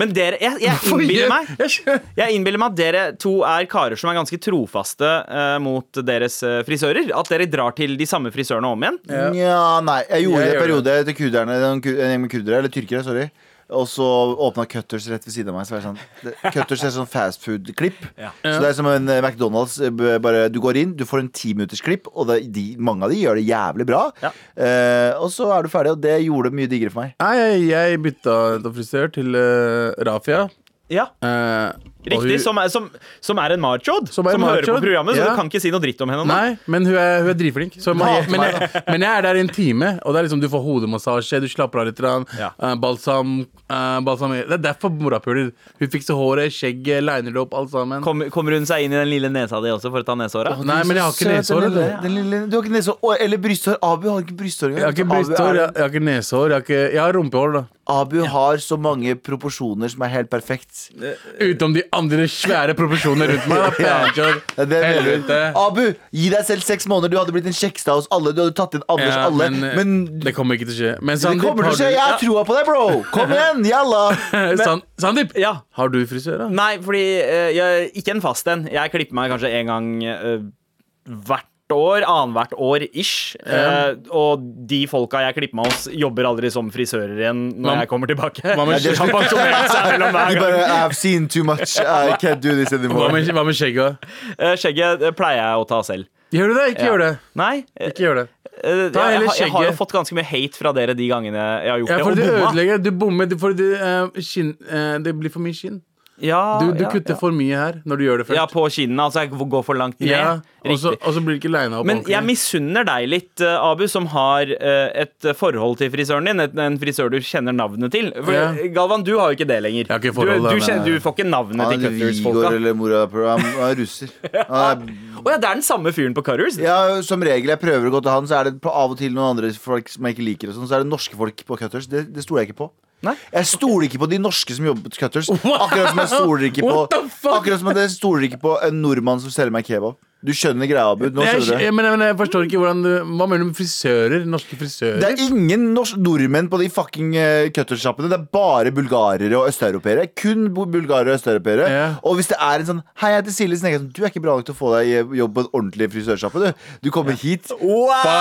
Speaker 2: men dere Jeg, jeg innbiller meg
Speaker 4: Jeg skjø-
Speaker 2: Jeg innbiller meg at dere to er karer som er ganske trofaste eh, mot deres eh, frisører. At dere drar til de samme frisørene om igjen.
Speaker 4: Ja.
Speaker 3: Nja, nei. Jeg gjorde
Speaker 4: Jeg
Speaker 3: det en
Speaker 4: gjør
Speaker 3: periode til kurderne, en ku- en gjeng med kurdere, eller tyrkere, sorry. Og så åpna Cutters rett ved siden av meg. Så var jeg sånn, det- Cutters er sånn fastfood-klipp.
Speaker 2: Ja.
Speaker 3: Så det er som en eh, McDonald's. eh, b- Bare, du går inn, du får en timinuttersklipp, og det, de, mange av de gjør det jævlig bra.
Speaker 2: Ja.
Speaker 3: Eh, og så er du ferdig, og det gjorde det mye diggere for meg.
Speaker 4: Nei, jeg, jeg bytta til frisør til eh, Rafia.
Speaker 2: Ja,
Speaker 4: Eh, og
Speaker 2: Riktig.
Speaker 4: hun-
Speaker 2: Som er, som, som er en machod. Som,
Speaker 4: Som er en
Speaker 2: hører på
Speaker 4: machod,
Speaker 2: programmet, så
Speaker 4: ja.
Speaker 2: du kan ikke si noe dritt om henne nå.
Speaker 4: Nei, men hun er, hun er drivflink. Så
Speaker 3: Nei,
Speaker 4: men,
Speaker 3: meg,
Speaker 4: jeg, men jeg er der i en time, og det er liksom du får hodemassasje, du slapper av litt. grann,
Speaker 2: Ja.
Speaker 4: eh, balsam, eh, balsam Det er derfor morapuler. Hun fikser håret, skjegget, liner det opp, alt sammen.
Speaker 2: Kom, kommer hun seg inn i den lille nesa di også for å ta nesehåra?
Speaker 4: Nei, men jeg har ikke
Speaker 3: Søt,
Speaker 4: nesehår.
Speaker 3: den lille-
Speaker 4: eller?
Speaker 3: den lille- Du har ikke nesehår Å, eller brysthår. Abu har ikke brysthår engang.
Speaker 4: Jeg har ikke
Speaker 3: Abu er-
Speaker 4: brysthår, jeg, jeg har ikke nesehår, jeg har, ikke, jeg har rumpehår. da
Speaker 3: Abu har så mange proporsjoner som er helt perfekt.
Speaker 4: Utenom de andre svære proporsjonene rundt meg. da, Fankjør,
Speaker 3: Ja, det mener hun.
Speaker 4: helvete.
Speaker 3: Abu, gi deg selv seks måneder. Du hadde blitt en kjekstad hos alle. Du hadde tatt inn Anders
Speaker 4: Ja,
Speaker 3: alle.
Speaker 4: men, eh,
Speaker 3: Men,
Speaker 4: det kommer ikke til å skje. Men
Speaker 3: det
Speaker 4: Sandeep,
Speaker 3: kommer til å skje. Jeg
Speaker 4: har
Speaker 3: har troa på deg, bro. Kom igjen, jalla.
Speaker 4: du, San, Sandeep,
Speaker 2: Ja.
Speaker 4: har du frisør? da?
Speaker 2: Nei, fordi eh, jeg, ikke en fast en. Jeg klipper meg kanskje en gang eh, hvert år. Annethvert år ish. Eh, og de folka jeg klipper meg hos, jobber aldri som frisører igjen når
Speaker 4: Hva-
Speaker 2: jeg kommer tilbake.
Speaker 4: hva med
Speaker 2: De har pensjonert seg mellom hver
Speaker 3: Du
Speaker 2: gang.
Speaker 3: bare I've seen too much. I can't do this
Speaker 4: Hva
Speaker 3: anymore.
Speaker 4: med, hva med skjegget?
Speaker 2: Eh, Skjegget eh, pleier jeg å ta selv.
Speaker 4: Gjør du det? Ikke
Speaker 2: Ja.
Speaker 4: gjør det.
Speaker 2: Nei. eh,
Speaker 4: Ikke gjør det.
Speaker 2: eh, jeg,
Speaker 4: Ta heller
Speaker 2: jeg, jeg har jo
Speaker 4: skjegget.
Speaker 2: fått ganske mye hate fra dere de gangene jeg har gjort
Speaker 4: Ja,
Speaker 2: det.
Speaker 4: for
Speaker 2: Og
Speaker 4: du
Speaker 2: bomma.
Speaker 4: ødelegger. Du bommer. Du, for du, eh, skinn, eh, det blir for mye skinn.
Speaker 2: Ja,
Speaker 4: Du, du
Speaker 2: Ah, ja,
Speaker 4: kutter
Speaker 2: ja.
Speaker 4: for mye her når du gjør det først.
Speaker 2: Ja, på kinnene. Altså, jeg går for langt ned.
Speaker 4: Ja, og så
Speaker 2: Riktig.
Speaker 4: og så blir det ikke lina opp
Speaker 2: Men
Speaker 4: ordentlig.
Speaker 2: jeg misunner deg litt, eh, Abu, som har eh, et forhold til frisøren din. Et, en frisør du kjenner navnet til. For, eh,
Speaker 4: Ja.
Speaker 2: Galvan, du har jo ikke det lenger.
Speaker 4: har ikke forhold,
Speaker 2: du,
Speaker 4: da,
Speaker 2: du,
Speaker 4: men- eh,
Speaker 2: kjenner, du får ikke navnet
Speaker 3: Han
Speaker 2: til
Speaker 3: er Vigor
Speaker 2: Cutters-folka.
Speaker 3: eller mora Han han er russer. Han er
Speaker 2: Å ja, det er den samme fyren på Cutters?
Speaker 3: ja, som regel jeg prøver å gå til han, så er det på av og til noen andre folk som jeg ikke liker. Og sånn, så er det norske folk på Cutters. Det, det stoler jeg ikke på.
Speaker 2: Nei.
Speaker 3: Jeg stoler ikke på de norske som jobber på Cutters. Akkurat som jeg stoler ikke på
Speaker 4: What the fuck?
Speaker 3: Akkurat som at jeg stoler ikke på en nordmann som selger meg kebab. Du skjønner greia, Abu. Nå
Speaker 4: Jeg,
Speaker 3: skjønner du.
Speaker 4: men, men jeg forstår ikke hvordan du Hva mener du med frisører? Norske frisører?
Speaker 3: Det er ingen norsk nordmenn på de fucking eh, cuttersjappene. Det er bare bulgarere og østeuropeere. Kun bu- bulgarere og østeuropeere.
Speaker 4: Ja.
Speaker 3: Og hvis det er en sånn Hei, jeg heter Silje Snegge. Du er ikke bra nok til å få deg eh, jobb på en ordentlig frisørsjappe, du. Du kommer hit.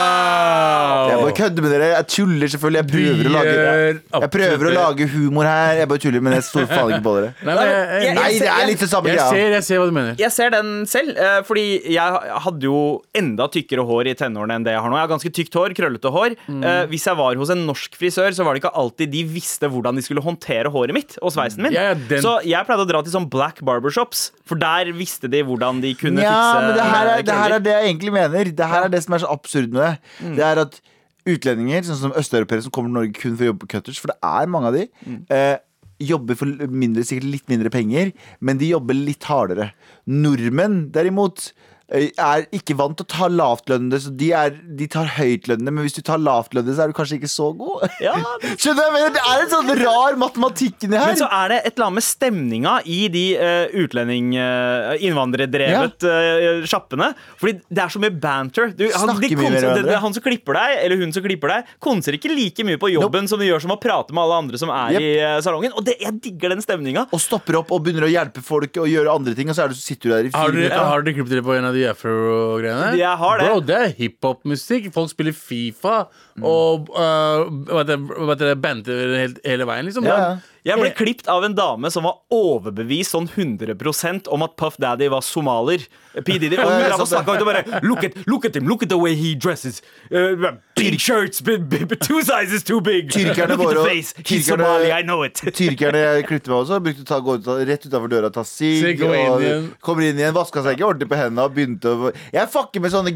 Speaker 3: Jeg
Speaker 4: Wow!
Speaker 3: bare kødder med dere. Jeg tuller selvfølgelig. Jeg prøver, å
Speaker 4: gjør
Speaker 3: lage, jeg prøver
Speaker 4: absolutt
Speaker 3: å lage humor her. Jeg bare tuller, men jeg stoler faen ikke på dere.
Speaker 4: Nei, men jeg, jeg,
Speaker 3: Nei, det er litt det samme
Speaker 4: jeg,
Speaker 3: greia.
Speaker 4: ser, jeg ser hva du mener.
Speaker 2: Jeg ser den selv, eh, fordi jeg hadde jo enda tykkere hår i tenårene enn det jeg har nå. Jeg har ganske tykt hår, krøllete hår.
Speaker 3: Mm.
Speaker 2: Eh, Hvis jeg var hos en norsk frisør, så var det ikke alltid de visste hvordan de skulle håndtere håret mitt og sveisen min.
Speaker 4: Jeg er den-
Speaker 2: Så jeg pleide å dra til sånn black barbershops, for der visste de hvordan de kunne
Speaker 3: Ja,
Speaker 2: fikse eh,
Speaker 3: men det her, er, det her
Speaker 2: krøller.
Speaker 3: er det jeg egentlig mener. Det her er det som er så absurd med det.
Speaker 2: Mm.
Speaker 3: Det er at utlendinger, sånn som østeuropeere som kommer til Norge kun for å jobbe på cutters, for det er mange av de,
Speaker 2: Mm.
Speaker 3: eh, jobber for mindre, sikkert litt mindre penger, men de jobber litt hardere. Nordmenn, derimot, eh, er ikke vant til å ta lavtlønnede, så de, er, de tar høytlønnede, men hvis du tar lavtlønnede, så er du kanskje ikke så god.
Speaker 2: Ja,
Speaker 3: Skjønner du hva jeg mener? Det er en sånn rar matematikk inni
Speaker 2: Men
Speaker 3: her.
Speaker 2: så er det et eller annet med stemninga i de eh, utlending eh, innvandrerdrevet eh, sjappene. Fordi det er så mye banter. Du, han, de
Speaker 3: Snakker mye med
Speaker 2: konser- det,
Speaker 3: hverandre.
Speaker 2: det, han som klipper deg, eller hun som klipper deg, konser ikke like mye på jobben som de gjør som å prate med alle andre som er
Speaker 3: Jep.
Speaker 2: i eh, salongen. Og det, jeg digger den stemninga.
Speaker 3: Og stopper opp og begynner å hjelpe folk og gjøre andre ting, og så er du, så sitter du der i
Speaker 4: Har
Speaker 3: fire
Speaker 4: dere,
Speaker 3: minutter.
Speaker 4: har dere klippet dere på en av de afro-greiene?
Speaker 2: Jeg har det.
Speaker 4: Bro, det er hiphop-musikk. Folk spiller Fifa og uh, hva heter det- hva heter det, banter hele, hele veien, liksom.
Speaker 3: Ja, ja.
Speaker 2: Jeg ble klippet av en dame som var overbevist sånn 100 om at Puff Daddy var somalier. P. Diddy. Og hun
Speaker 3: Ja, jeg
Speaker 2: drev og
Speaker 3: så det.
Speaker 2: snakket ut og bare look at, look at him, look at the way he dresses. Uh, big shirts, big, big, two sizes too big.
Speaker 3: Tyrkerne
Speaker 2: look at the
Speaker 3: våre-
Speaker 2: face. He's
Speaker 3: tyrkerne-
Speaker 2: Somali, I know it.
Speaker 3: Tyrkerne jeg klippet meg også brukte å ta, gå ut, rett utenfor døra ta sigg.
Speaker 4: Sigg, gå inn
Speaker 3: og
Speaker 4: igjen.
Speaker 3: Kommer inn igjen, vaska seg ikke ordentlig på hendene og begynte å Jeg fucker med sånne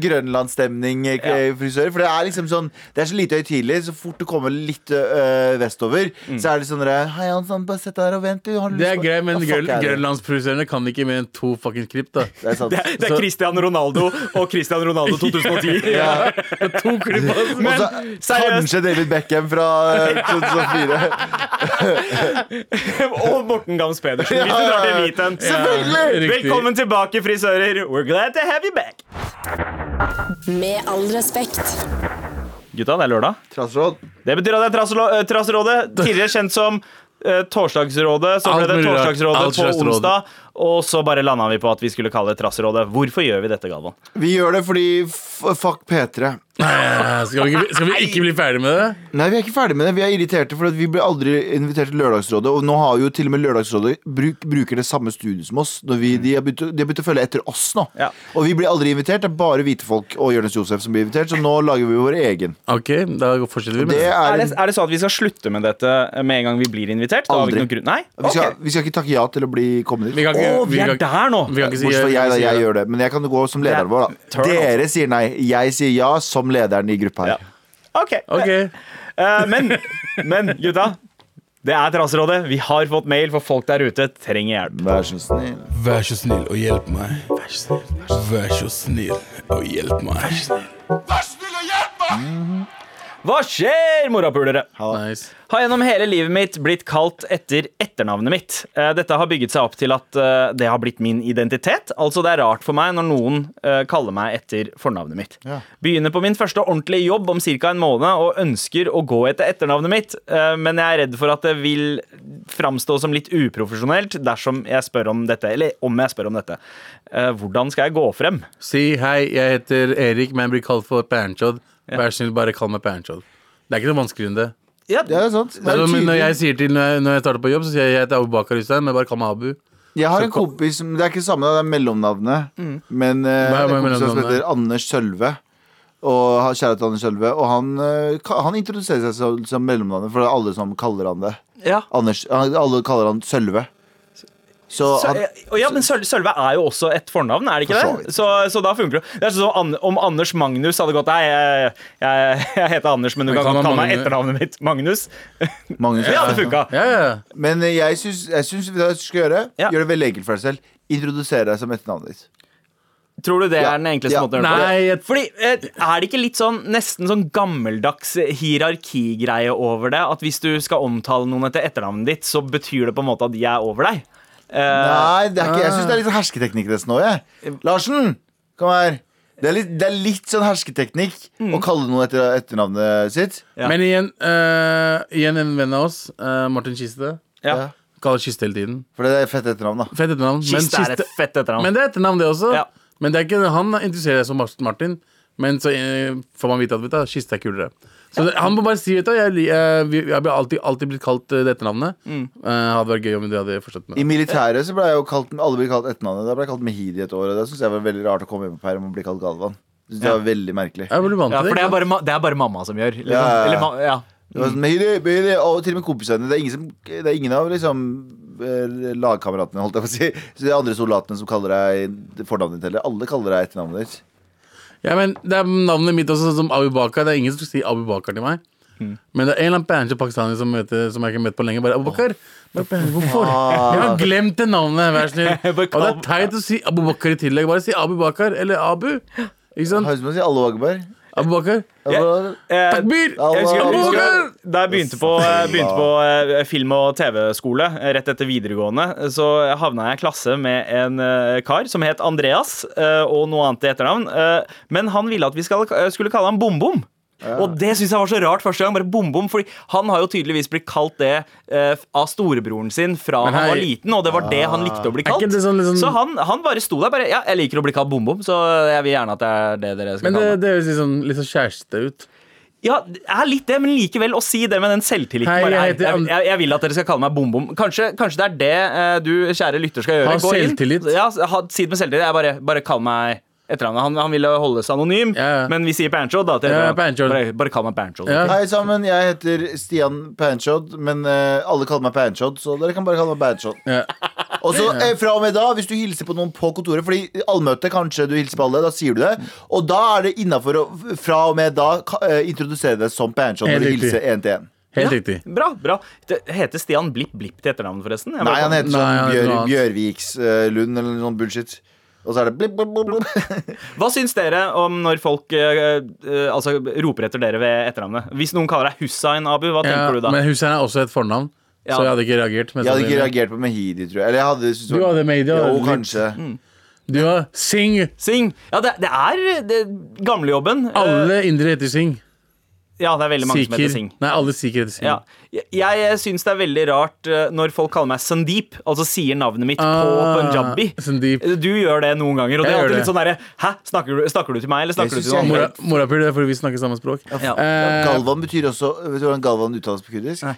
Speaker 3: Grønlandsstemning-frisører. For det er liksom sånn Det er så lite høytidelig. Så fort du kommer litt øh, vestover, så er det sånn der, Hei, Hans, han, bare sett deg her og vent, du. Har du
Speaker 4: Mm. Det er
Speaker 3: lyst på-"
Speaker 4: greit, men
Speaker 3: Ja, fuck
Speaker 4: grøn,
Speaker 3: er det.
Speaker 4: grønlandsproduserende kan ikke mer enn to fucking klipp, da.
Speaker 3: Det er sant.
Speaker 2: Det er, det er
Speaker 4: Så-
Speaker 2: Cristiano Ronaldo og Cristiano Ronaldo 2010.
Speaker 4: Ja, to klipp, altså.
Speaker 2: Men
Speaker 3: Og så
Speaker 2: seriøst,
Speaker 3: kanskje David Beckham fra øh, 2004.
Speaker 2: og Morten Gams Pedersen, hvis du drar til eliten.
Speaker 3: Selvfølgelig!
Speaker 4: Riktig.
Speaker 2: Velkommen tilbake, frisører. We're glad to have you back.
Speaker 1: Med all respekt.
Speaker 2: Gutta, det er lørdag.
Speaker 3: Trassråd.
Speaker 2: Det betyr at det er Trasselo- eh, Trassrådet, tidligere kjent som eh, Torsdagsrådet. Så
Speaker 4: Alt
Speaker 2: ble det
Speaker 4: mulig rart.
Speaker 2: Torsdagsrådet
Speaker 4: Alt
Speaker 2: på
Speaker 4: slags råd.
Speaker 2: onsdag. Og så bare landa vi på at vi skulle kalle det Trassrådet. Hvorfor gjør vi dette, Galvan?
Speaker 3: Vi gjør det fordi f fuck P3.
Speaker 4: Eh, Skal vi, ikke, skal vi ikke bli ferdig med det?
Speaker 3: Nei, vi er ikke ferdig med det. Vi er irriterte, for at vi ble aldri invitert til Lørdagsrådet. Og nå har jo til og med Lørdagsrådet bruk, bruker det samme studiet som oss. Når vi, de, har begynt, å- de har begynt å følge etter oss nå.
Speaker 2: Ja.
Speaker 3: Og vi blir aldri invitert. Det er bare hvite folk og Jonis Josef som blir invitert, så nå lager vi vår egen.
Speaker 4: Ok, da fortsetter vi med
Speaker 3: Det
Speaker 4: det.
Speaker 2: Er
Speaker 3: er
Speaker 2: det,
Speaker 3: en,
Speaker 2: er det sånn at vi skal slutte med dette med en gang vi blir invitert? Da har vi ikke
Speaker 3: Aldri.
Speaker 2: noen grunn Nei?
Speaker 3: vi, skal,
Speaker 2: Ok.
Speaker 3: vi skal ikke takke ja til å bli kommet
Speaker 4: Vi
Speaker 3: dit.
Speaker 4: kan ikke,
Speaker 2: Å, vi er
Speaker 4: kan-
Speaker 2: der nå.
Speaker 4: Vi kan ikke si
Speaker 3: Bortsett fra jeg, da.
Speaker 4: vi kan
Speaker 3: Jeg
Speaker 4: ikke si-
Speaker 3: gjør det. Men jeg kan gå som
Speaker 2: Det
Speaker 3: lederen
Speaker 2: er
Speaker 3: vår, da.
Speaker 2: turn off.
Speaker 3: Dere sier nei. Jeg sier ja som lederen i gruppa
Speaker 2: Ja.
Speaker 3: her.
Speaker 2: Ok.
Speaker 4: Ok.
Speaker 2: Eh, men, men gutta, det er Trassrådet. Vi har fått mail, for folk der ute trenger hjelp.
Speaker 3: Vær så snill.
Speaker 5: Vær så snill og hjelp meg. Vær så snill, Vær så snill og hjelp meg. Vær så snill.
Speaker 2: Hva skjer, morapulere?
Speaker 4: Nice.
Speaker 2: Har gjennom hele livet mitt blitt kalt etter etternavnet mitt. Eh, Dette har bygget seg opp til at eh, det har blitt min identitet. Altså Det er rart for meg når noen eh, kaller meg etter fornavnet mitt.
Speaker 3: Ja.
Speaker 2: Begynner på min første ordentlige jobb om ca. en måned og ønsker å gå etter etternavnet mitt, eh, men jeg er redd for at det vil framstå som litt uprofesjonelt dersom jeg spør om dette. Eller om jeg spør om dette. Eh, Hvordan skal jeg gå frem?
Speaker 4: Si hei, jeg heter Erik, men jeg blir kalt for Panchod. Vær så snill, bare kall meg Panchod. Det er ikke noe vanskeligere enn det.
Speaker 2: Ja,
Speaker 3: Ja, det er sant.
Speaker 4: Det
Speaker 3: Vær
Speaker 4: er som når
Speaker 3: tydelig.
Speaker 4: jeg sier til når jeg, når jeg starter på jobb, så sier jeg jeg heter Abubakar Hussein, men bare kall meg Abu.
Speaker 3: Jeg har en kompis som- Det er ikke samme, det er mellomnavnet.
Speaker 2: Mm.
Speaker 3: Men eh,
Speaker 4: Hva er
Speaker 3: en kompis som
Speaker 4: mellomnavnet?
Speaker 3: heter Anders Sølve. Og han- Kjære til Anders Sølve. Og han, eh, ka- han introduserer seg som, som mellomnavnet, for det er alle som kaller han det.
Speaker 2: ja.
Speaker 3: Anders, han- alle kaller han Sølve. Så
Speaker 2: Så,
Speaker 3: han,
Speaker 2: eh, og ja, men Søl- Sølve er jo også et fornavn, er det ikke
Speaker 3: For så
Speaker 2: det?
Speaker 3: vidt.
Speaker 2: Så, så da funker det. Det er sånn som An- om Anders Magnus hadde gått Nei, jeg, jeg, jeg heter Anders, men du
Speaker 4: Men
Speaker 2: kan
Speaker 4: kan
Speaker 2: godt kalle
Speaker 4: man
Speaker 2: meg
Speaker 4: Magne-
Speaker 2: etternavnet mitt Magnus.
Speaker 3: Magnus,
Speaker 2: Det hadde funka.
Speaker 4: Ja, ja.
Speaker 3: Men eh, jeg syns jeg syns det du skal gjøre,
Speaker 2: Ja.
Speaker 3: gjør det veldig enkelt for deg selv. Introdusere deg som etternavnet ditt.
Speaker 2: Tror du det
Speaker 3: Ja.
Speaker 2: er den enkleste
Speaker 3: Ja.
Speaker 2: måten å gjøre det på?
Speaker 4: Nei, jeg,
Speaker 2: Fordi, eh, Er det ikke litt sånn nesten sånn gammeldags hierarkigreie over det? At hvis du skal omtale noen etter etternavnet ditt, så betyr det på en måte at de er over deg? Eh,
Speaker 3: Nei, det er ikke, jeg syns det er litt sånn hersketeknikk nesten òg, jeg. Larsen! Kom her. Det er litt, det er litt sånn hersketeknikk
Speaker 2: Mm.
Speaker 3: å kalle noen etter etternavnet sitt.
Speaker 2: Ja.
Speaker 4: Men igjen, eh, igjen en venn av oss, eh, Martin Kiste.
Speaker 2: Ja.
Speaker 4: Kaller Kiste hele tiden.
Speaker 3: For det er fett etternavn, da.
Speaker 4: Fett etternavn. men
Speaker 2: Kiste er et fett etternavn.
Speaker 4: Men det er etternavn, det også.
Speaker 2: Ja.
Speaker 4: Men det er ikke, han interesserer seg som Martin. Men så eh, får man vite at vet du, Kiste er kulere. Så det, han må bare si vet du, jeg, li- eh, vi- jeg blir alltid, alltid blitt kalt eh, det etternavnet.
Speaker 2: Mm.
Speaker 4: Eh, hadde vært gøy om du hadde forstått
Speaker 3: I
Speaker 4: meg.
Speaker 3: militæret så ble jeg jo kalt alle ble kalt etternavnet. Da ble jeg kalt Mehidi et år, og det syns jeg var veldig rart å komme hjem på perm og bli kalt Galvan. Synes det var veldig merkelig
Speaker 4: Jeg blir vant
Speaker 2: Ja,
Speaker 4: til
Speaker 2: for det
Speaker 4: det.
Speaker 2: er, bare, ma- det er bare mamma som gjør. Liksom.
Speaker 3: Ja, ja, ja.
Speaker 2: Eller, ma- ja.
Speaker 3: Det var sånn, Mehidi, Mehidi, og til og med kompisene dine. Det er ingen, som, det er ingen av liksom eh, lagkameratene, holdt jeg på å si. Så de andre soldatene som kaller deg fornavnet ditt heller. Alle kaller deg etternavnet ditt.
Speaker 4: Ja, men det er navnet mitt også, sånn som Abu Bakar. Det er ingen som sier Abu Bakar til meg.
Speaker 2: Mm.
Speaker 4: Men det er en eller annen banjo pakistaner som, møter, som jeg ikke har møtt på lenge. Bare Abu Bakar. Bare, "Banjo, Hvorfor? Jeg har glemt det navnet, vær snill.
Speaker 2: bare
Speaker 4: Og det er teit å si Abu Bakar i tillegg. Bare si Abu Bakar eller Abu. Ikke sant?
Speaker 3: Høres ut som å si alle Wagberg.
Speaker 4: Abu Bakar.
Speaker 3: Ja.
Speaker 2: Eh,
Speaker 4: Takbir!
Speaker 2: Jeg husker, jeg
Speaker 3: Abu
Speaker 2: husker,
Speaker 4: Bakar!
Speaker 2: da jeg begynte på, begynte på eh, film- og TV-skole eh, rett etter videregående, så havna jeg i klasse med en eh, kar som het Andreas, eh, og noe annet i etternavn. eh, Men han ville at vi skal, eh, skulle kalle ham Bom-Bom. Og det syns jeg var så rart første gang. Bare bom-bom Fordi Han har jo tydeligvis blitt kalt det eh, av storebroren sin fra
Speaker 4: Men
Speaker 2: han var
Speaker 4: hei-
Speaker 2: liten, og det var det han likte å bli
Speaker 4: Er ikke
Speaker 2: kalt.
Speaker 4: det sånn liksom-
Speaker 2: Så han, han bare sto der bare Ja, jeg liker å bli kalt bom-bom, så jeg vil gjerne at det er det dere skal
Speaker 4: Men
Speaker 2: kalle
Speaker 4: det,
Speaker 2: meg.
Speaker 4: det høres litt sånn, litt sånn kjæreste ut.
Speaker 2: Ja, det er litt det, men likevel å si det med den selvtilliten.
Speaker 4: Hei,
Speaker 2: bare,
Speaker 4: jeg
Speaker 2: hei,
Speaker 4: heter
Speaker 2: jeg,
Speaker 4: And-
Speaker 2: jeg, jeg vil at dere skal kalle meg bom-bom. Kanskje, kanskje det er det eh, du, kjære lytter, skal gjøre.
Speaker 4: Ha
Speaker 2: Gå inn.
Speaker 4: selvtillit.
Speaker 2: Ja, ha, si det med selvtillit. Jeg bare, bare kall meg etternavnet. Han, han ville holde seg anonym,
Speaker 4: Ja, ja.
Speaker 2: men vi sier Pancho. Da, til
Speaker 4: Ja,
Speaker 2: etternavnet.
Speaker 4: Pancho.
Speaker 2: Bare, bare kall meg Pancho.
Speaker 4: Ja.
Speaker 3: Hei sammen, jeg heter Stian Panchod, men eh, alle kaller meg Panchod, så dere kan bare kalle meg Panchod.
Speaker 4: Ja.
Speaker 3: Og så eh, fra og med da, hvis du hilser på noen på kontoret, fordi allmøte, kanskje du hilser på alle, da sier du det. Og da er det innafor å fra og med da ka- eh, introdusere deg som Panchod når
Speaker 4: Helt
Speaker 3: du
Speaker 4: riktig.
Speaker 3: hilser én til én.
Speaker 4: Helt
Speaker 2: Ja,
Speaker 4: riktig.
Speaker 2: Bra. bra det Heter Stian Blipp Blipp til etternavn, forresten? Jeg
Speaker 3: Nei,
Speaker 2: bare-
Speaker 3: han heter
Speaker 4: Nei,
Speaker 3: sånn
Speaker 4: han heter
Speaker 3: Bjør,
Speaker 4: noe annet.
Speaker 3: Bjørvikslund eller noe sånn bullshit. Og så er det blip, blip, blip, blip.
Speaker 2: Hva syns dere om når folk eh, eh, altså, roper etter dere ved etternavnet? Hvis noen kaller deg Hussein Abu, hva
Speaker 4: Ja,
Speaker 2: tenker du da?
Speaker 4: men Hussein er også et fornavn,
Speaker 2: Ja.
Speaker 4: så jeg hadde ikke reagert. sånn mest
Speaker 3: Jeg hadde ikke
Speaker 4: sannsynlig.
Speaker 3: reagert på Mehidi, tror jeg. Eller jeg hadde
Speaker 4: Du hadde Mehidi,
Speaker 3: Jo,
Speaker 4: hadde litt- Mm.
Speaker 3: kanskje.
Speaker 4: Du har Singh.
Speaker 2: Sing! Ja, det, det er det, gamlejobben. Eh,
Speaker 4: Alle indere heter Singh.
Speaker 2: Ja, det er veldig mange som
Speaker 4: Sikher.
Speaker 2: heter Singh.
Speaker 4: Nei, alle sikher heter Singh.
Speaker 2: Ja. Jeg, jeg syns det er veldig rart eh, når folk kaller meg Sandeep, altså sier navnet mitt på
Speaker 4: Ah,
Speaker 2: punjabi. Eh,
Speaker 4: Sandeep.
Speaker 2: Du gjør det noen ganger, og det er
Speaker 4: Jeg gjør
Speaker 2: alltid
Speaker 4: det.
Speaker 2: litt sånn derre Hæ, snakker du, snakker du til meg, eller snakker
Speaker 3: Det
Speaker 2: du til noen
Speaker 3: synes jeg-
Speaker 2: andre?
Speaker 4: Mora- Morapul, det er fordi vi snakker samme språk.
Speaker 2: Ja.
Speaker 4: Eh,
Speaker 3: Galvan betyr også Vet du hvordan Galvan uttales på kurdisk?
Speaker 2: Nei.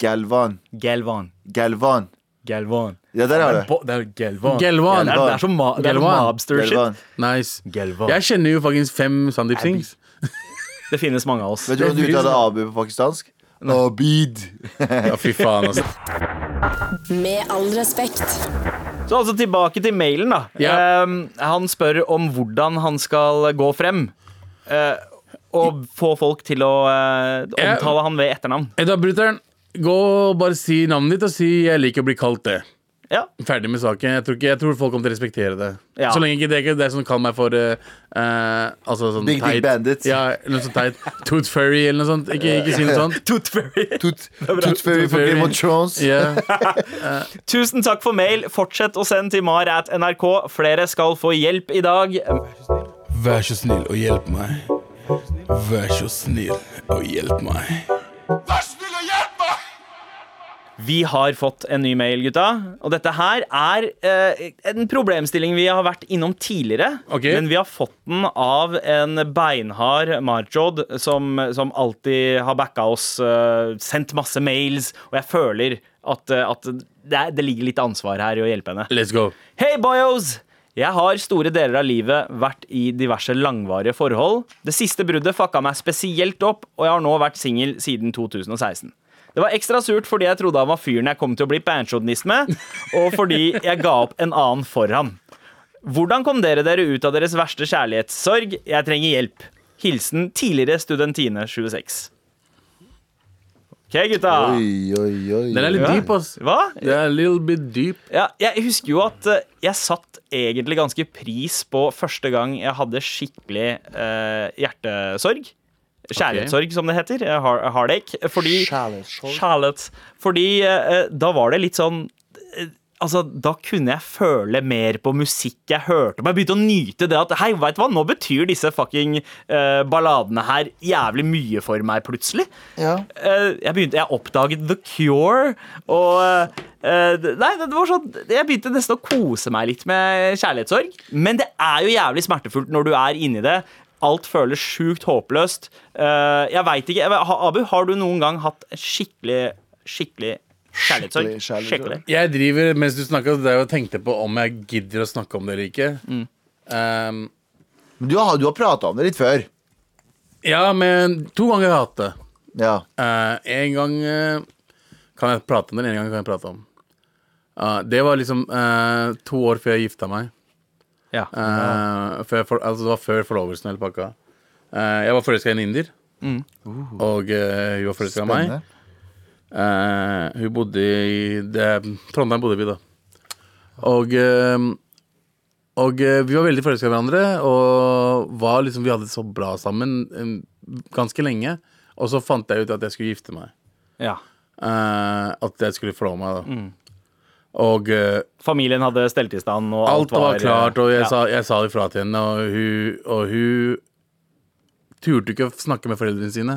Speaker 3: Galvan.
Speaker 2: Gelvan.
Speaker 3: Galvan.
Speaker 2: Gelvan.
Speaker 3: Ja, der er det.
Speaker 2: Bo- Det er Gelvan. Ja,
Speaker 4: Gelvan.
Speaker 2: det, er, det er så ma det er
Speaker 4: Gelvan.
Speaker 2: sånn mobster-shit.
Speaker 3: Galvan.
Speaker 4: nice.
Speaker 2: Gelvan.
Speaker 4: Jeg kjenner jo faktisk fem Sandeep Singhs.
Speaker 2: Det finnes mange av oss.
Speaker 3: Vet du hvordan du uttaler Abu på pakistansk? Abid.
Speaker 4: Ja, fy faen, altså.
Speaker 1: Med all respekt.
Speaker 2: Så altså tilbake til mailen, da.
Speaker 4: Ja.
Speaker 2: Ehm, han spør om hvordan han skal gå frem. eh, og få folk til å eh,
Speaker 4: Jeg-
Speaker 2: omtale han ved etternavn.
Speaker 4: Edda Brutter'n, gå og bare si navnet ditt, og si 'jeg liker å bli kalt det'.
Speaker 2: Ja
Speaker 4: Ferdig med saken. Jeg tror, ikke, jeg tror folk kommer til å respektere det.
Speaker 2: Ja.
Speaker 4: Så lenge ikke det er ikke det som kaller meg for eh, eh, altså sånn
Speaker 3: Big Dick
Speaker 4: teit.
Speaker 3: Bandit.
Speaker 4: Ja, eller noe sånt teit. Tooth Fairy eller noe sånt. Ikke, ikke si noe sånt.
Speaker 2: Tooth Fairy.
Speaker 3: Tut- Tut Fairy for Game of Thrones.
Speaker 4: Ja.
Speaker 2: Tusen takk for mail. Fortsett å sende til mar at nrk. Flere skal få hjelp i dag.
Speaker 5: Vær så snill og hjelp meg. Vær så snill og hjelp meg.
Speaker 2: Vi har fått en ny mail, gutta. Og dette her er eh, en problemstilling vi har vært innom tidligere.
Speaker 4: Ok.
Speaker 2: Men vi har fått den av en beinhard Marjod som, som alltid har backa oss, eh, sendt masse mails, og jeg føler at, eh, at det, er, det ligger litt ansvar her i å hjelpe henne.
Speaker 4: Let's go.
Speaker 2: Hei, boyos! Jeg har store deler av livet vært i diverse langvarige forhold. Det siste bruddet fucka meg spesielt opp, og jeg har nå vært singel siden 2016. Det var ekstra surt fordi jeg trodde han var fyren jeg kom til å bli banchodnist med, og fordi jeg ga opp en annen for ham. Hvordan kom dere dere ut av deres verste kjærlighetssorg? Jeg trenger hjelp. Hilsen tidligere studentine 26. OK, gutta.
Speaker 3: Oi, oi, oi.
Speaker 4: Den er litt dyp, ass.
Speaker 2: Hva?
Speaker 4: Det er a little bit deep.
Speaker 2: Ja, jeg husker jo at eh, jeg satt egentlig ganske pris på første gang jeg hadde skikkelig eh, hjertesorg. Kjærlighetssorg, som det heter. eh, Heart, heartache. Fordi, Kjærlighetssorg. Fordi eh, eh, da var det litt sånn eh, Altså, da kunne jeg føle mer på musikk jeg hørte. Men jeg begynte å nyte det at Hei, veit du hva, nå betyr disse fucking eh, balladene her jævlig mye for meg, plutselig.
Speaker 3: Ja.
Speaker 2: Eh, jeg begynte Jeg oppdaget The Cure, og eh, Nei, det var sånn Jeg begynte nesten å kose meg litt med kjærlighetssorg. Men det er jo jævlig smertefullt når du er inni det. Alt føles sjukt håpløst. Eh, jeg veit ikke jeg- Ha- Abu, har du noen gang hatt skikkelig, skikkelig kjærlighetssorg?
Speaker 3: Skikkelig
Speaker 2: Skikkelig.
Speaker 3: kjærlighetssorg.
Speaker 4: Jeg driver, mens du snakket, det er jo jeg tenkte på om jeg gidder å snakke om det eller ikke.
Speaker 2: Mm.
Speaker 4: Um,
Speaker 3: Men du har, du har prata om det litt før.
Speaker 4: ja, men to ganger har jeg hatt det.
Speaker 3: Ja.
Speaker 4: Eh, en gang eh, kan jeg prate om det, en gang kan jeg prate om. Eh, det var liksom eh, to år før jeg gifta meg.
Speaker 2: Ja.
Speaker 4: Eh, før jeg for, altså det var før forlovelsen og hele pakka. Eh, jeg var forelska i en inder, og eh, hun var forelska i meg.
Speaker 3: Spennende.
Speaker 4: Eh, hun bodde i det, Trondheim bodde vi da. Og, eh, og eh, vi var veldig forelska i hverandre, og var liksom, vi hadde det så bra sammen eh, ganske lenge. Og så fant jeg ut at jeg skulle gifte meg.
Speaker 2: ja.
Speaker 4: Eh, at jeg skulle forlove meg, da. Og eh,
Speaker 2: Familien hadde stelt i stand, og alt, eh,
Speaker 4: alt var klart, og jeg,
Speaker 2: ja.
Speaker 4: sa, jeg sa ifra til henne, og hun, og hun turte ikke å snakke med foreldrene sine.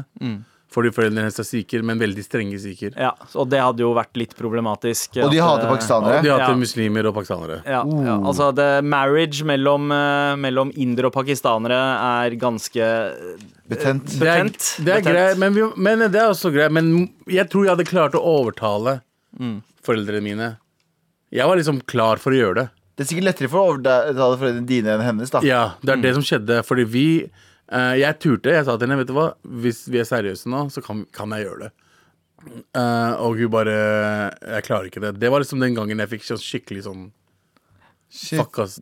Speaker 4: Fordi foreldrene hennes er sikher, men veldig strenge sikher.
Speaker 2: ja, Og det hadde jo vært litt problematisk.
Speaker 3: Og de
Speaker 2: at, eh,
Speaker 3: hater
Speaker 4: Og de
Speaker 3: pakistanere.
Speaker 4: hater Oh.
Speaker 2: Ja.
Speaker 4: muslimer og pakistanere.
Speaker 2: Ja, ja. altså det, marriage mellom, eh, mellom indere og pakistanere er ganske
Speaker 3: Betent.
Speaker 4: Det er,
Speaker 2: Betent.
Speaker 4: det er
Speaker 2: Betent.
Speaker 4: greit, men, vi, men det er også greit. Men jeg tror jeg hadde klart å overtale foreldrene mine. Jeg var liksom klar for å gjøre det.
Speaker 3: Det er sikkert lettere for å overtale foreldrene dine enn hennes, da.
Speaker 4: Ja, Det er det
Speaker 2: Mm.
Speaker 4: som skjedde. Fordi vi eh, Jeg turte. Jeg sa til henne vet du hva, hvis vi er seriøse nå, så kan, kan jeg gjøre det. Eh, og hun bare Jeg klarer ikke det. Det var liksom den gangen jeg fikk sånn skikkelig sånn
Speaker 3: Shit.
Speaker 4: Fuck, ass.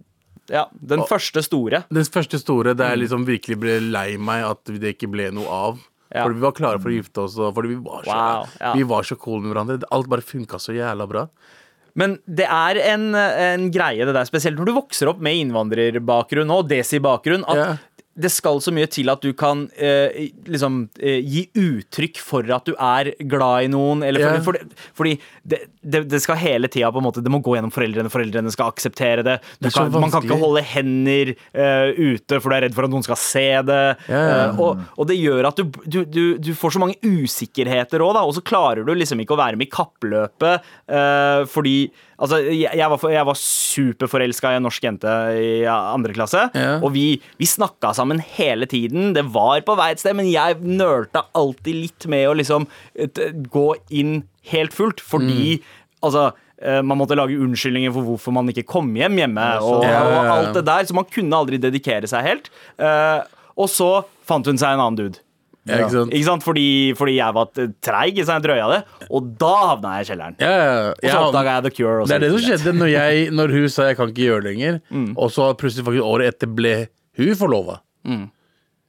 Speaker 2: Ja, den første store.
Speaker 4: Den første store der
Speaker 2: Mm.
Speaker 4: jeg liksom virkelig ble lei meg at det ikke ble noe av.
Speaker 2: Ja.
Speaker 4: Fordi vi var klare for å gifte oss, og fordi vi var så,
Speaker 2: Wow, ja.
Speaker 4: vi var så cool med hverandre. Alt bare funka så jævla bra.
Speaker 2: Men det er en, en greie, det der, spesielt når du vokser opp med innvandrerbakgrunn og desi-bakgrunn, at
Speaker 4: Ja.
Speaker 2: det skal så mye til at du kan eh, liksom eh, gi uttrykk for at du er glad i noen, eller for,
Speaker 4: Ja.
Speaker 2: for det- fordi det, det, det skal hele tida på en måte Det må gå gjennom foreldrene, foreldrene skal akseptere det. Du
Speaker 4: Det er så
Speaker 2: kan, man kan ikke
Speaker 4: vanskelig.
Speaker 2: holde hender eh, ute, for du er redd for at noen skal se det.
Speaker 4: Ja.
Speaker 2: Eh, og, og det gjør at du, du, du, du får så mange usikkerheter òg, da. Og så klarer du liksom ikke å være med i kappløpet eh, fordi Altså, jeg, jeg var, for- jeg var superforelska i en norsk jente i andre klasse.
Speaker 4: Ja.
Speaker 2: Og vi, vi snakka sammen hele tiden. Det var på vei et sted, men jeg nølte alltid litt med å liksom et, gå inn helt fullt, fordi
Speaker 4: Mm.
Speaker 2: altså eh, man måtte lage unnskyldninger for hvorfor man ikke kom hjem hjemme. Og,
Speaker 4: Ja, ja,
Speaker 2: og
Speaker 4: ja.
Speaker 2: alt det der, så man kunne aldri dedikere seg helt. Eh, og så fant hun seg en annen dude.
Speaker 4: Ja, ikke sant?
Speaker 2: Ikke sant? Fordi, fordi jeg var t- treig, så jeg drøya det. Og da havna jeg i kjelleren.
Speaker 4: Ja, ja, ja.
Speaker 2: Og så
Speaker 4: Ja,
Speaker 2: oppdaga jeg The Cure. Og så
Speaker 4: det er det som
Speaker 2: gikk
Speaker 4: skjedde når, jeg, når hun sa jeg kan ikke gjøre det lenger,
Speaker 2: Mm.
Speaker 4: og så plutselig faktisk året etter ble hun forlova.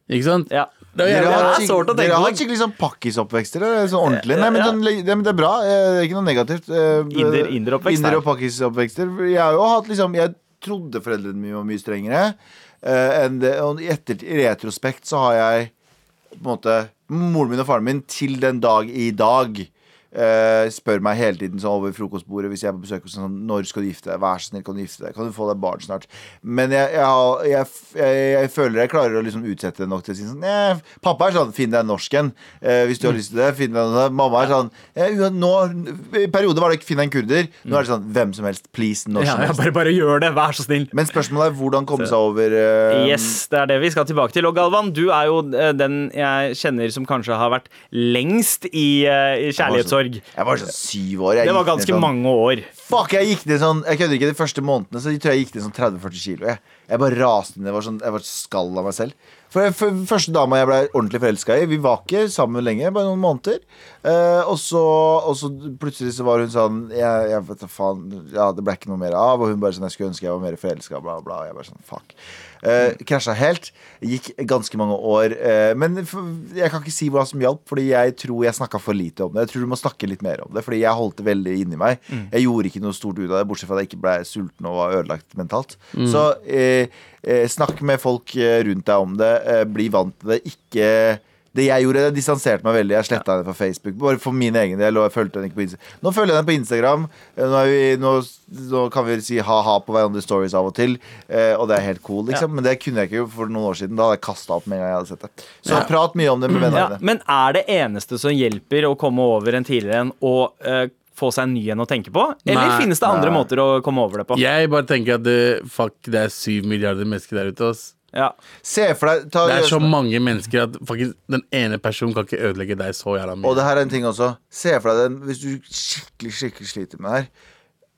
Speaker 4: Ikke sant?
Speaker 2: Mm. Ja.
Speaker 4: Det er jo
Speaker 3: Dere
Speaker 4: jævlig-
Speaker 2: Det
Speaker 3: har
Speaker 2: er
Speaker 3: hatt
Speaker 2: sårt å
Speaker 3: skikkelig, dere
Speaker 2: tenke
Speaker 3: har
Speaker 2: på. Eh,
Speaker 3: hatt skikkelig sånn pakkisoppvekster? eller? Sånn ordentlig? Nei, men,
Speaker 2: Ja.
Speaker 3: den, det, men det er bra. eh, Ikke noe negativt. eh,
Speaker 2: Inder- inderoppvekst
Speaker 3: Inder-
Speaker 2: her.
Speaker 3: og pakkisoppvekster. Jeg har jo hatt liksom Jeg trodde foreldrene mine var mye strengere. eh, enn det, og i etter, I retrospekt så har jeg på en måte Moren min og faren min til den dag i dag eh, spør meg hele tiden sånn over frokostbordet hvis jeg er på besøk hos dem, sånn, når skal du gifte deg. Vær så snill, kan du gifte deg? Kan du få deg barn snart? Men jeg, jeg, har- jeg, f- jeg, jeg føler jeg klarer å liksom utsette det nok til å si sånn «Nei, Pappa er sånn Finn deg en norsken eh, hvis
Speaker 2: Mm.
Speaker 3: du har lyst til det. Finn deg en, mamma er sånn eh, ua- nå, I perioder var det ikke finn deg en kurder. Nå er det sånn hvem som helst. Please, når
Speaker 2: Ja,
Speaker 3: som
Speaker 2: ja,
Speaker 3: helst.
Speaker 2: bare, bare gjør det, vær så snill.
Speaker 3: Men spørsmålet er hvordan komme seg over
Speaker 4: Ehm.
Speaker 3: eh,
Speaker 2: Yes, det er det vi skal tilbake til. Og Galvan, du er jo eh, den jeg kjenner som kanskje har vært lengst i, eh, i kjærlighetssorg.
Speaker 3: Jeg var sånn syv år. Jeg
Speaker 2: Det var
Speaker 3: gikk ned
Speaker 2: ganske
Speaker 3: sånn-
Speaker 2: mange år.
Speaker 3: Fuck, jeg gikk ned sånn Jeg kødder ikke, de første månedene Så jeg tror jeg gikk ned sånn 30-40 kilo jeg. jeg bare raste ned, jeg var, sånn, jeg var skall av meg selv For jeg, for første dama jeg ble ordentlig forelsket i Vi var ikke sammen lenge, bare noen måneder eh, og, så, og så plutselig så var hun sånn Jeg, jeg vet da faen, ja, det ble ikke noe mer av Og hun bare sånn, jeg skulle ønske jeg var mer forelsket Bla bla, og jeg bare sånn, fuck eh, Krasjet helt, gikk ganske mange år eh, Men f- jeg kan ikke si hva som hjalp Fordi jeg tror jeg snakket for lite om det Jeg tror du må snakke litt mer om det Fordi jeg holdt det veldig inni meg Jeg gjorde ikke noe stort ut av det Bortsett fra at jeg ikke ble sulten og var ødelagt mentalt Så eh, eh, snakk med folk eh, rundt deg om det eh, Bli vant til det Ikke Det jeg gjorde, jeg distanserte meg veldig. Jeg sletta henne fra Facebook. Bare for min egen del. Og jeg fulgte henne ikke på Instagram. Nå følger jeg henne på Instagram. Eh, Nå, er vi, nå, nå kan vi si ha-ha på hverandres stories av og til. eh, Og det er helt cool, liksom. Men det kunne jeg ikke for noen år siden. Da hadde jeg kasta opp med en gang jeg hadde sett det. Så prat mye om det med vennene
Speaker 2: Ja,
Speaker 3: dine.
Speaker 2: men er det eneste som hjelper å komme over en tidligere en og eh, få seg en ny en å tenke på? Eller
Speaker 4: Nei.
Speaker 2: finnes det andre måter å komme over det på?
Speaker 4: Jeg bare tenker at det, fuck, det er syv milliarder mennesker der ute. Ass.
Speaker 2: Ja.
Speaker 3: Se for deg ta,
Speaker 4: Det er så mange mennesker at faktisk, den ene personen kan ikke ødelegge deg så jævla mye.
Speaker 3: Og det her er en ting også. Se for deg den hvis du skikkelig skikkelig sliter med det her.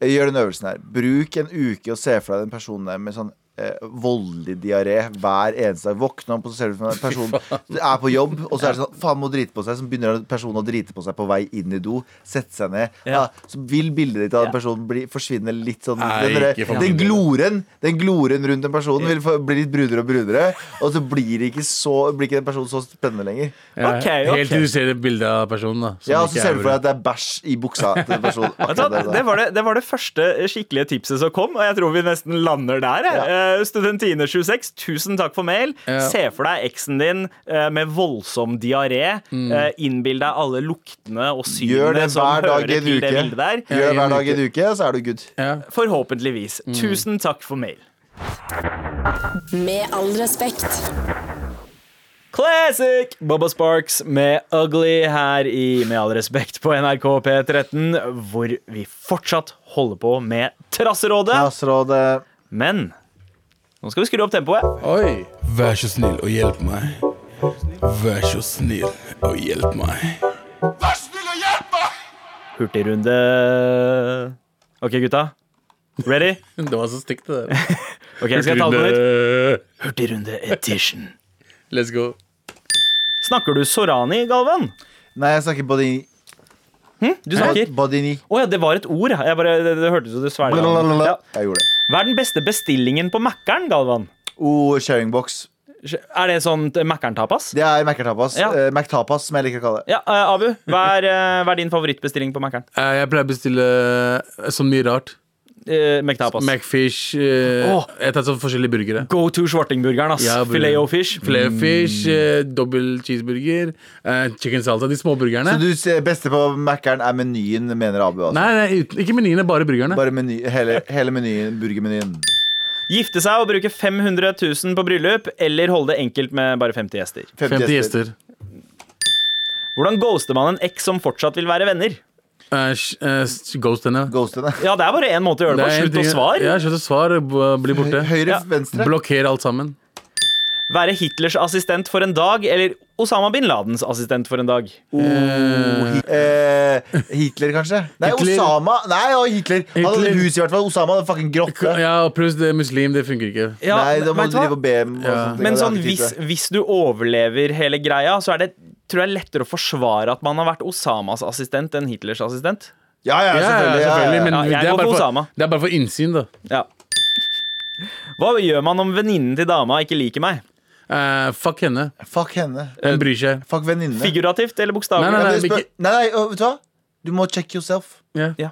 Speaker 3: eh, Gjør den øvelsen her. Bruk en uke og se for deg den personen der med sånn eh, voldelig diaré hver eneste dag. Våkne opp, og så ser du for deg personen er på jobb, og så er det sånn faen må drite på seg. Så begynner personen å drite på seg på vei inn i do. Sette seg ned.
Speaker 2: Ja.
Speaker 3: Ah, så vil bildet ditt av den personen bli, forsvinne litt sånn.
Speaker 4: Nei,
Speaker 3: den, derre-
Speaker 4: ikke for
Speaker 3: den
Speaker 4: min del.
Speaker 3: gloren Den gloren rundt den personen vil få- bli litt brunere og brunere. Og så blir, det ikke så, blir ikke den personen så spennende lenger.
Speaker 4: Ja,
Speaker 2: Ok, ok.
Speaker 4: Helt til du ser et bilde av personen. da som
Speaker 3: Ja, og
Speaker 4: ikke
Speaker 3: så
Speaker 4: er
Speaker 3: ser du for deg
Speaker 4: bra.
Speaker 3: at det er bæsj i buksa til en person.
Speaker 2: Vet du
Speaker 3: Akkurat
Speaker 2: hva?
Speaker 3: det,
Speaker 2: Det
Speaker 3: der.
Speaker 2: var det, det var det første skikkelige tipset som kom, og jeg tror vi nesten lander der. jeg. Eh, Studentine26, tusen takk for mail.
Speaker 4: Ja.
Speaker 2: Se for deg eksen din eh, med voldsom diaré. Mm. Innbill deg alle luktene og
Speaker 3: Gjør det
Speaker 2: synene som
Speaker 3: hver dag
Speaker 2: hører
Speaker 3: i en
Speaker 2: til det
Speaker 3: uke.
Speaker 2: bildet der.
Speaker 3: Gjør Mm. det hver dag i en uke, så er du good.
Speaker 4: ja.
Speaker 2: Forhåpentligvis. Tusen takk for mail.
Speaker 1: Med all respekt.
Speaker 2: Classic! Bubba Sparks med Ugly her i Med all respekt på NRK P13, hvor vi fortsatt holder på med Trasserådet.
Speaker 3: Statsrådet
Speaker 2: Men nå skal vi skru opp tempoet.
Speaker 4: Oi.
Speaker 5: Vær så snill og hjelp meg. Vær så snill og hjelp meg.
Speaker 2: Hurtigrunde Ok, gutta. Ready?
Speaker 4: Det var så stygt, det der.
Speaker 2: Ok, jeg skal ta det på nytt. Hurtigrunde edition.
Speaker 4: Let's go.
Speaker 2: Snakker du Sorani, Galvan?
Speaker 3: Nei, jeg snakker Bodini.
Speaker 2: Du snakker Å
Speaker 3: Bodini.
Speaker 2: ja, det var et ord. Jeg bare, det, det hørtes ut som du svelget.
Speaker 3: Blablabla.
Speaker 2: Ja.
Speaker 3: Jeg gjorde det.
Speaker 2: Hva er den beste bestillingen på Mækkern, Galvan?
Speaker 3: Oh, sharing box.
Speaker 2: Er det sånn Mækkern-tapas?
Speaker 3: Det er Mac-tapas.
Speaker 2: Ja.
Speaker 3: Eh, Mac-tapas, som jeg liker å kalle det.
Speaker 2: Ja, eh, Abu, hva er, eh, hva er din favorittbestilling på Mækkern?
Speaker 4: Eh, Jeg pleier å bestille eh, så mye rart.
Speaker 2: Uh, Mækktapas.
Speaker 4: Macfish. eh,
Speaker 2: Åh.
Speaker 4: Jeg tar sånn forskjellige burgere.
Speaker 2: Go to svartingburgeren, ass.
Speaker 4: Ja,
Speaker 2: Filet o fish.
Speaker 3: Mm.
Speaker 4: Flairfish, eh, dobbel cheeseburger, eh, chicken salsa, de små burgerne.
Speaker 3: Så du ser- beste på Mac-eren er menyen, mener Abu. Altså.
Speaker 4: Nei, nei uten, ikke menyene, bare burgerne.
Speaker 3: Bare meny, hele, hele menyen, burgermenyen.
Speaker 2: Gifte seg og bruke 500 000 på bryllup, eller holde det enkelt med bare 50 gjester.
Speaker 3: 50
Speaker 4: 50 gjester.
Speaker 2: Hvordan ghoster man en eks som fortsatt vil være venner?
Speaker 4: Eh, sh- eh, s- ghost henne.
Speaker 3: Ghostene.
Speaker 2: Ja, det er bare én måte å gjøre det
Speaker 4: Det
Speaker 2: på.
Speaker 4: er en
Speaker 2: Slutt å
Speaker 4: ting-
Speaker 2: svare.
Speaker 4: Ja, slutt å svare. b- Bli borte.
Speaker 3: Høyre,
Speaker 2: Ja.
Speaker 3: venstre.
Speaker 4: Blokker alt sammen.
Speaker 2: Være Hitlers assistent for en dag, eller Osama bin Ladens assistent for en dag.
Speaker 3: Eh, Hitler, kanskje? Nei,
Speaker 4: Hitler.
Speaker 3: Osama. Nei, ja, Hitler. Han hadde
Speaker 4: Hitler.
Speaker 3: hus, i hvert fall. Osama hadde fucking grotte.
Speaker 4: Ja, og pluss det er muslim, det funker ikke.
Speaker 2: Ja,
Speaker 3: Nei, da må
Speaker 2: vet
Speaker 3: du
Speaker 2: du hva?
Speaker 3: drive og be om og
Speaker 4: Ja.
Speaker 3: sånne ting,
Speaker 2: Men
Speaker 3: og det har
Speaker 2: sånn,
Speaker 3: ikke tid
Speaker 2: hvis,
Speaker 3: til.
Speaker 2: hvis du overlever hele greia, så er det tror jeg, lettere å forsvare at man har vært Osamas assistent enn Hitlers assistent.
Speaker 3: Ja, ja,
Speaker 4: Ja,
Speaker 3: selvfølgelig.
Speaker 4: ja,
Speaker 3: Ja,
Speaker 4: selvfølgelig, men
Speaker 3: ja,
Speaker 2: Ja, jeg
Speaker 4: det,
Speaker 2: går for
Speaker 4: er bare
Speaker 2: Osama.
Speaker 4: for, det er bare for innsyn, da.
Speaker 2: Ja. Hva gjør man om venninnen til dama ikke liker meg?
Speaker 4: Eh, fuck henne.
Speaker 3: ja. Fuck henne.
Speaker 4: Hun bryr seg.
Speaker 3: Fuck venninnene.
Speaker 2: Figurativt eller bokstavelig?
Speaker 4: Nei,
Speaker 3: Ja,
Speaker 4: nei,
Speaker 3: men spør-
Speaker 4: ikke-
Speaker 3: Nei, nei, øh, vet du hva? Du må check yourself.
Speaker 4: Ja.
Speaker 2: Ja.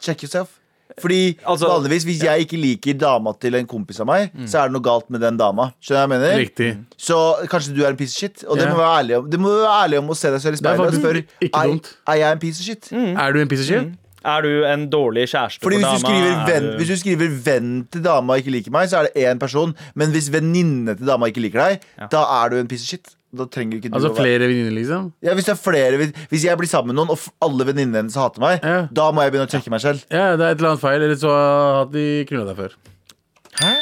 Speaker 3: Check yourself. Fordi
Speaker 2: Altså- Mm.
Speaker 3: vanligvis Hvis jeg ikke liker dama til en kompis av meg, så er det noe galt med den dama. Skjønner du hva jeg mener?
Speaker 4: Riktig.
Speaker 3: Så kanskje du er en piece of shit. Og det
Speaker 4: Ja.
Speaker 3: må være ærlig om Du må være ærlig om å se deg selv i
Speaker 4: er
Speaker 3: speilet og
Speaker 4: faktisk
Speaker 3: spørre
Speaker 4: ikke
Speaker 3: er,
Speaker 4: dumt.
Speaker 3: er jeg en piece of shit.
Speaker 2: Mm.
Speaker 4: Er du en piece of shit?
Speaker 2: Er du en dårlig kjæreste
Speaker 3: Fordi
Speaker 2: for
Speaker 3: hvis
Speaker 2: dama?
Speaker 3: du, skriver
Speaker 2: Er
Speaker 3: venn, hvis du skriver 'venn til dama ikke liker meg', så er det én person. Men hvis venninne til dama ikke liker deg, da er du en piece of shit. Da trenger ikke du
Speaker 4: Altså
Speaker 3: å være
Speaker 4: flere venninner, liksom?
Speaker 3: Ja, hvis, det er flere, hvis- hvis jeg blir sammen med noen, og f- alle venninnene hennes hater meg,
Speaker 4: Ja.
Speaker 3: da må jeg begynne å trekke meg selv.
Speaker 4: Ja, det er et eller annet feil, eller så har de knulla deg før.
Speaker 3: Hæ?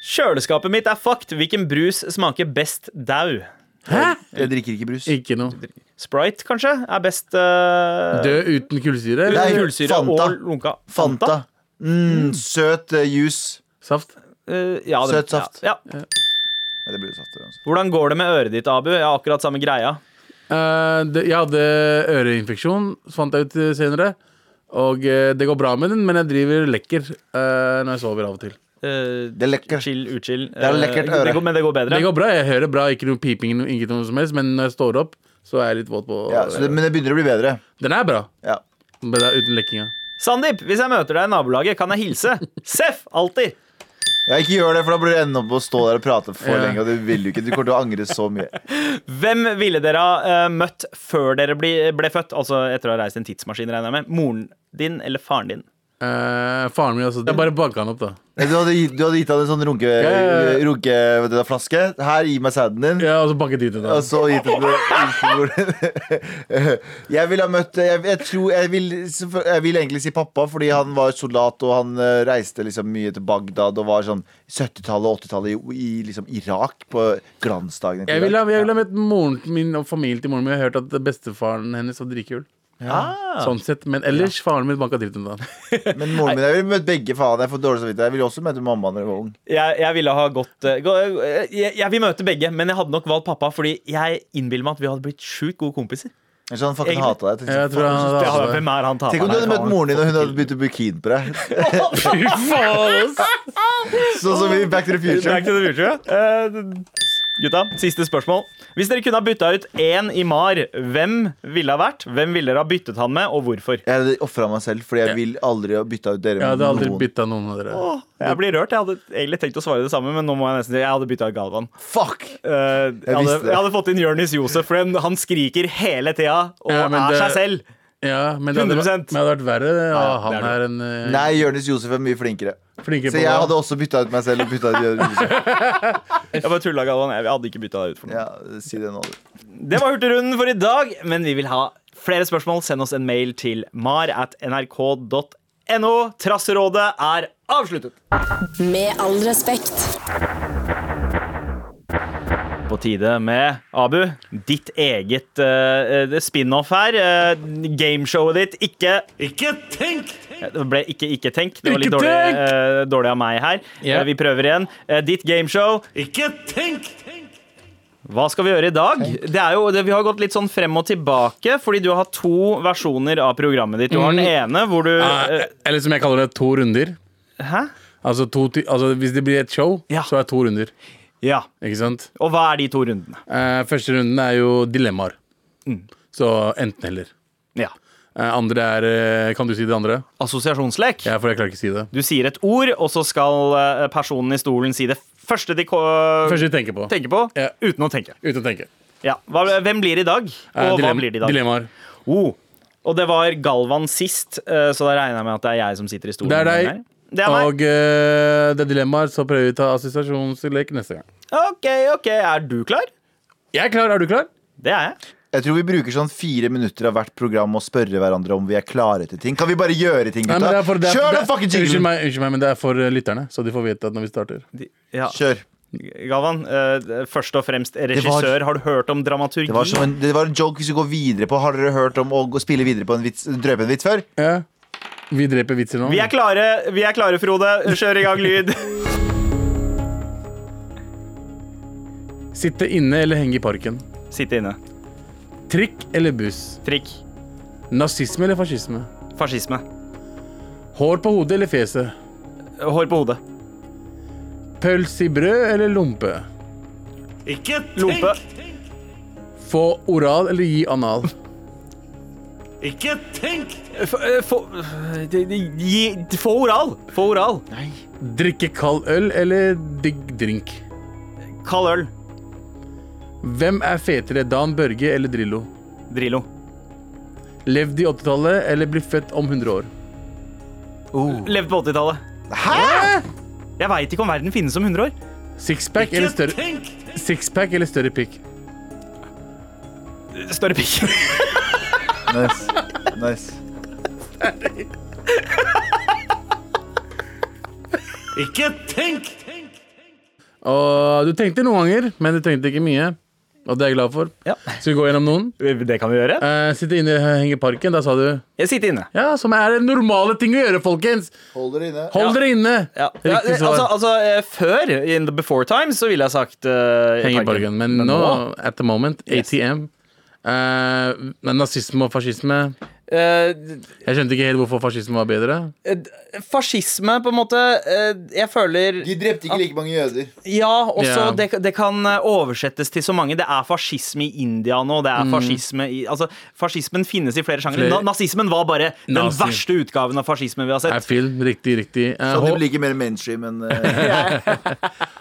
Speaker 2: Kjøleskapet mitt er fucked. Hvilken brus smaker best dau?
Speaker 4: Hæ?
Speaker 3: Jeg drikker ikke brus.
Speaker 4: Ikke noe.
Speaker 3: Eh.
Speaker 2: Sprite, kanskje, er best eh,
Speaker 4: Død uten kullsyre?
Speaker 2: uten
Speaker 3: Nei,
Speaker 4: Eller
Speaker 2: kullsyre
Speaker 3: Fanta.
Speaker 2: og lunka.
Speaker 3: Fanta. Mm, søt eh, juice.
Speaker 4: saft?
Speaker 2: Eh, ja, det-
Speaker 3: Søt saft.
Speaker 2: Ja, ja.
Speaker 3: Nei, det blir jo saft, det, altså.
Speaker 2: Hvordan går det med øret ditt, Abu? Ja, akkurat samme greia.
Speaker 4: Eh, det, jeg hadde øreinfeksjon, så fant jeg ut eh, senere. Og eh, det går bra med den, men jeg driver lekker eh, når jeg sover av og til.
Speaker 2: Eh,
Speaker 3: Det er lekkert.
Speaker 2: Chill, uchill. Det
Speaker 3: er lekkert øre.
Speaker 2: går, men det går bedre.
Speaker 4: Det går bra, jeg hører bra, ikke noe piping, no- ikke noe som helst, men når jeg står opp, så er jeg litt våt på
Speaker 3: Ja, så det, men det begynner å bli bedre.
Speaker 4: Den er bra,
Speaker 3: Ja.
Speaker 4: men det er uten lekkinga.
Speaker 2: Sandeep, hvis jeg møter deg i nabolaget, kan jeg hilse. Seff, alltid.
Speaker 3: Ja, ikke gjør det, for da blir du ende opp med å stå der og prate for
Speaker 4: Ja.
Speaker 3: lenge. Og det vil du ikke. Du kommer til å angre så mye.
Speaker 2: Hvem ville dere ha eh, møtt før dere ble, ble født? Altså etter å ha reist i en tidsmaskin, regner jeg med. Moren din eller faren din?
Speaker 4: Eh, faren min, altså. Jeg bare banka han opp, da.
Speaker 3: Du hadde, gitt- du hadde gitt han en sånn runke,
Speaker 4: ja, ja.
Speaker 3: runke vet du, da, flaske. Her, gi meg sæden din.
Speaker 4: Ja, og så banket de til
Speaker 3: Og
Speaker 4: da.
Speaker 3: så gitt han det Jeg vil ha møtt Jeg, jeg tror jeg vil, jeg vil egentlig si pappa, fordi han var soldat og han eh, reiste liksom mye til Bagdad og var sånn 70-tallet og 80-tallet i, i liksom Irak på glansdagene. til
Speaker 4: Jeg ville
Speaker 3: Irak.
Speaker 4: ha, jeg ville ha møtt moren min og familien til moren min. Jeg har hørt at bestefaren hennes var dritkul.
Speaker 2: Ah.
Speaker 4: Sånn sett, Men ellers, faren min banka dritten da.
Speaker 3: Men moren min, jeg ville møtt begge faen. Jeg får dårlig samvittighet. Jeg ville også møte mamma når jeg var ung.
Speaker 2: Jeg, jeg ville ha gått eh, gå, eh, jeg, jeg vil møte begge, men jeg hadde nok valgt pappa, fordi jeg innbiller meg at vi hadde blitt sjukt gode kompiser.
Speaker 3: Ellers hadde han fucking
Speaker 2: Egentlig-
Speaker 3: hata deg. Tenkte,
Speaker 4: Jeg tror
Speaker 3: faen,
Speaker 4: han
Speaker 2: Ja,
Speaker 4: hadde
Speaker 2: Hvem er han
Speaker 3: altså. Tenk om
Speaker 2: taperen?
Speaker 3: du hadde
Speaker 2: her?
Speaker 3: møtt moren din, og hun hadde begynt å burkin på deg.
Speaker 4: Fy faen, ass!
Speaker 3: Sånn som i Back to the Future.
Speaker 2: Back to the future. Eh, gutta, siste spørsmål. Hvis dere kunne ha bytta ut én i MAR, hvem ville ha vært? Hvem ville dere ha byttet han med, og hvorfor?
Speaker 3: Jeg hadde ofra meg selv, fordi jeg vil aldri ha bytta ut dere
Speaker 4: Jeg
Speaker 3: med
Speaker 4: hadde aldri
Speaker 3: noen.
Speaker 4: bytta noen av dere.
Speaker 2: Åh, jeg blir rørt. Jeg hadde egentlig tenkt å svare det samme, men nå må jeg nesten si jeg hadde bytta ut Galvan.
Speaker 3: Fuck!
Speaker 2: Eh, jeg, hadde,
Speaker 3: visste det.
Speaker 2: jeg hadde fått inn Jonis Josef, for han- han skriker hele tida og
Speaker 4: Ja, men
Speaker 2: er
Speaker 4: det-
Speaker 2: seg selv.
Speaker 4: Ja, men det hadde,
Speaker 2: 100%.
Speaker 4: vært- men det hadde vært verre å ha
Speaker 2: Ja, det
Speaker 4: han her
Speaker 2: er
Speaker 4: enn eh,
Speaker 3: Nei, Jonis Josef er mye flinkere.
Speaker 4: flinkere
Speaker 3: Så
Speaker 4: på
Speaker 3: jeg
Speaker 4: hva?
Speaker 3: hadde også bytta ut meg selv. Og byttet ut Jonas Josef.
Speaker 2: Jeg bare tulla, Galvan. Jeg hadde ikke bytta deg ut for noe.
Speaker 3: ja, si det nå, du.
Speaker 2: Det var Hurtigrunden for i dag, men vi vil ha flere spørsmål. Send oss en mail til mar at nrk.no. Trasserådet er avsluttet.
Speaker 1: Med all respekt.
Speaker 2: På tide med Abu, ditt eget eh, eh, spin-off her. eh, gameshowet ditt Ikke Eh,
Speaker 6: Ikke tenk!
Speaker 2: Det ble ikke ikke tenk. Det var litt
Speaker 4: Ikke
Speaker 2: dårlig,
Speaker 4: tenk!
Speaker 2: eh, dårlig av meg her.
Speaker 4: Ja.
Speaker 2: Eh, vi prøver igjen. Eh, ditt gameshow.
Speaker 6: Ikke tenk! tenk.
Speaker 2: Hva skal vi gjøre i dag? Det er jo, det, vi har gått litt sånn frem og tilbake, fordi du har to versjoner av programmet ditt. Du har den ene hvor du
Speaker 4: Eh,
Speaker 2: eh,
Speaker 4: Eller som jeg kaller det, to runder.
Speaker 2: Hæ?
Speaker 4: Altså, to, ti- altså hvis det blir et show,
Speaker 2: Ja.
Speaker 4: så er det to runder.
Speaker 2: Ja.
Speaker 4: Ikke sant?
Speaker 2: Og hva er de to rundene?
Speaker 4: Eh, første runden er jo dilemmaer.
Speaker 2: Mm.
Speaker 4: Så enten-eller.
Speaker 2: Ja.
Speaker 4: andre er eh, Kan du si det andre?
Speaker 2: Assosiasjonslek.
Speaker 4: Ja, for jeg klarer ikke å si det.
Speaker 2: Du sier et ord, og så skal eh, personen i stolen si det første de ko
Speaker 4: Første vi tenker på.
Speaker 2: tenker på,
Speaker 4: Ja.
Speaker 2: uten å tenke.
Speaker 4: Uten å tenke.
Speaker 2: Ja. Hva, hvem blir i dag? Og
Speaker 4: Eh,
Speaker 2: hva
Speaker 4: dilem-
Speaker 2: blir det i dag?
Speaker 4: Dilemmaer.
Speaker 2: Oh. Og det var Galvan sist, eh, så da regner jeg med at det er jeg som sitter i stolen.
Speaker 4: Det er deg.
Speaker 2: her. Det er meg.
Speaker 4: Og eh, det er dilemmaer, så prøver vi å ta assosiasjonslek neste gang.
Speaker 2: OK, OK. Er du klar?
Speaker 4: Jeg er klar. Er du klar?
Speaker 2: Det er jeg.
Speaker 3: Jeg tror vi bruker sånn fire minutter av hvert program og spørre hverandre om vi er klare til ting. Kan vi bare gjøre ting,
Speaker 4: Nei, men det
Speaker 3: gutta?
Speaker 4: er for- det er-
Speaker 3: Kjør
Speaker 4: det
Speaker 3: den
Speaker 4: er-
Speaker 3: fucking
Speaker 4: Unnskyld
Speaker 3: jinglen!
Speaker 4: meg, unnskyld meg, men det er for eh, lytterne, så de får vite at når vi starter.
Speaker 2: De- Ja.
Speaker 3: Kjør.
Speaker 2: Galvan, eh, først og fremst regissør. Har du hørt om dramaturgi?
Speaker 3: Det var, som en, det var en joke hvis vi går videre på Har dere hørt om å gå- spille videre på en vits, drøpe en vits før?
Speaker 4: Ja. Vi dreper vitser nå.
Speaker 2: Vi er klare, vi er klare, Frode. Kjør i gang lyd.
Speaker 4: Sitte inne eller henge i parken.
Speaker 2: Sitte inne.
Speaker 4: Trikk eller buss.
Speaker 2: Trikk.
Speaker 4: Nazisme eller fascisme.
Speaker 2: Fascisme.
Speaker 4: Hår på hodet eller fjeset.
Speaker 2: Hår på hodet.
Speaker 4: Pølse i brød eller lompe.
Speaker 6: Ikke tenk!
Speaker 2: Lompe.
Speaker 4: Få oral eller gi anal.
Speaker 6: Ikke tenk!
Speaker 2: F eh, få, eh, de- de- gi, få oral. Få oral.
Speaker 4: Drikke kald øl eller digg drink.
Speaker 2: Kald øl.
Speaker 4: Hvem er fetere, Dan Børge eller Drillo?
Speaker 2: Drillo.
Speaker 4: Levd i 80-tallet eller bli født om 100 år?
Speaker 7: Oh.
Speaker 2: Levd på 80-tallet. Jeg veit ikke om verden finnes om 100 år.
Speaker 4: Sixpack eller
Speaker 6: Ikke
Speaker 4: større,
Speaker 6: tenk!
Speaker 4: sixpack eller større pikk?
Speaker 2: Større pikk.
Speaker 3: Nice. nice.
Speaker 6: Ikke tenk! tenk.
Speaker 4: Og du tenkte noen ganger, men du tenkte ikke mye. Og det er jeg glad for.
Speaker 2: Ja.
Speaker 4: Skal vi gå gjennom noen?
Speaker 2: Det kan vi gjøre.
Speaker 4: Eh, sitte inne og henge i parken, da sa du
Speaker 2: Jeg sitter inne.
Speaker 4: Ja, som er det normale ting å gjøre, folkens!
Speaker 3: Hold dere inne.
Speaker 4: Hold
Speaker 2: Ja.
Speaker 4: dere inne!
Speaker 2: Ja. Ja,
Speaker 4: Riktig
Speaker 2: det-
Speaker 4: svar.
Speaker 2: altså, altså, eh, før, in the before times, så ville jeg sagt eh,
Speaker 4: henge i parken. Men, nå, at the moment,
Speaker 2: Yes.
Speaker 4: ATM eh, men Nazisme og fascisme
Speaker 2: eh,
Speaker 4: Jeg skjønte ikke helt hvorfor fascisme var bedre.
Speaker 2: eh, Fascisme, på en måte eh, Jeg føler
Speaker 7: De drepte ikke like mange jøder.
Speaker 2: Ja, og så
Speaker 4: Ja.
Speaker 2: det, det kan eh, oversettes til så mange. Det er fascisme i India nå. Det er fascisme i, altså, fascismen finnes i flere sjangre.
Speaker 4: Mm. Flere-
Speaker 2: Na, nazismen var bare den
Speaker 4: Nazi.
Speaker 2: verste utgaven av fascismen vi har
Speaker 4: Er
Speaker 2: sett.
Speaker 4: film riktig, riktig? Eh,
Speaker 3: Så det
Speaker 4: hår,
Speaker 3: blir ikke mer mainstream enn eh,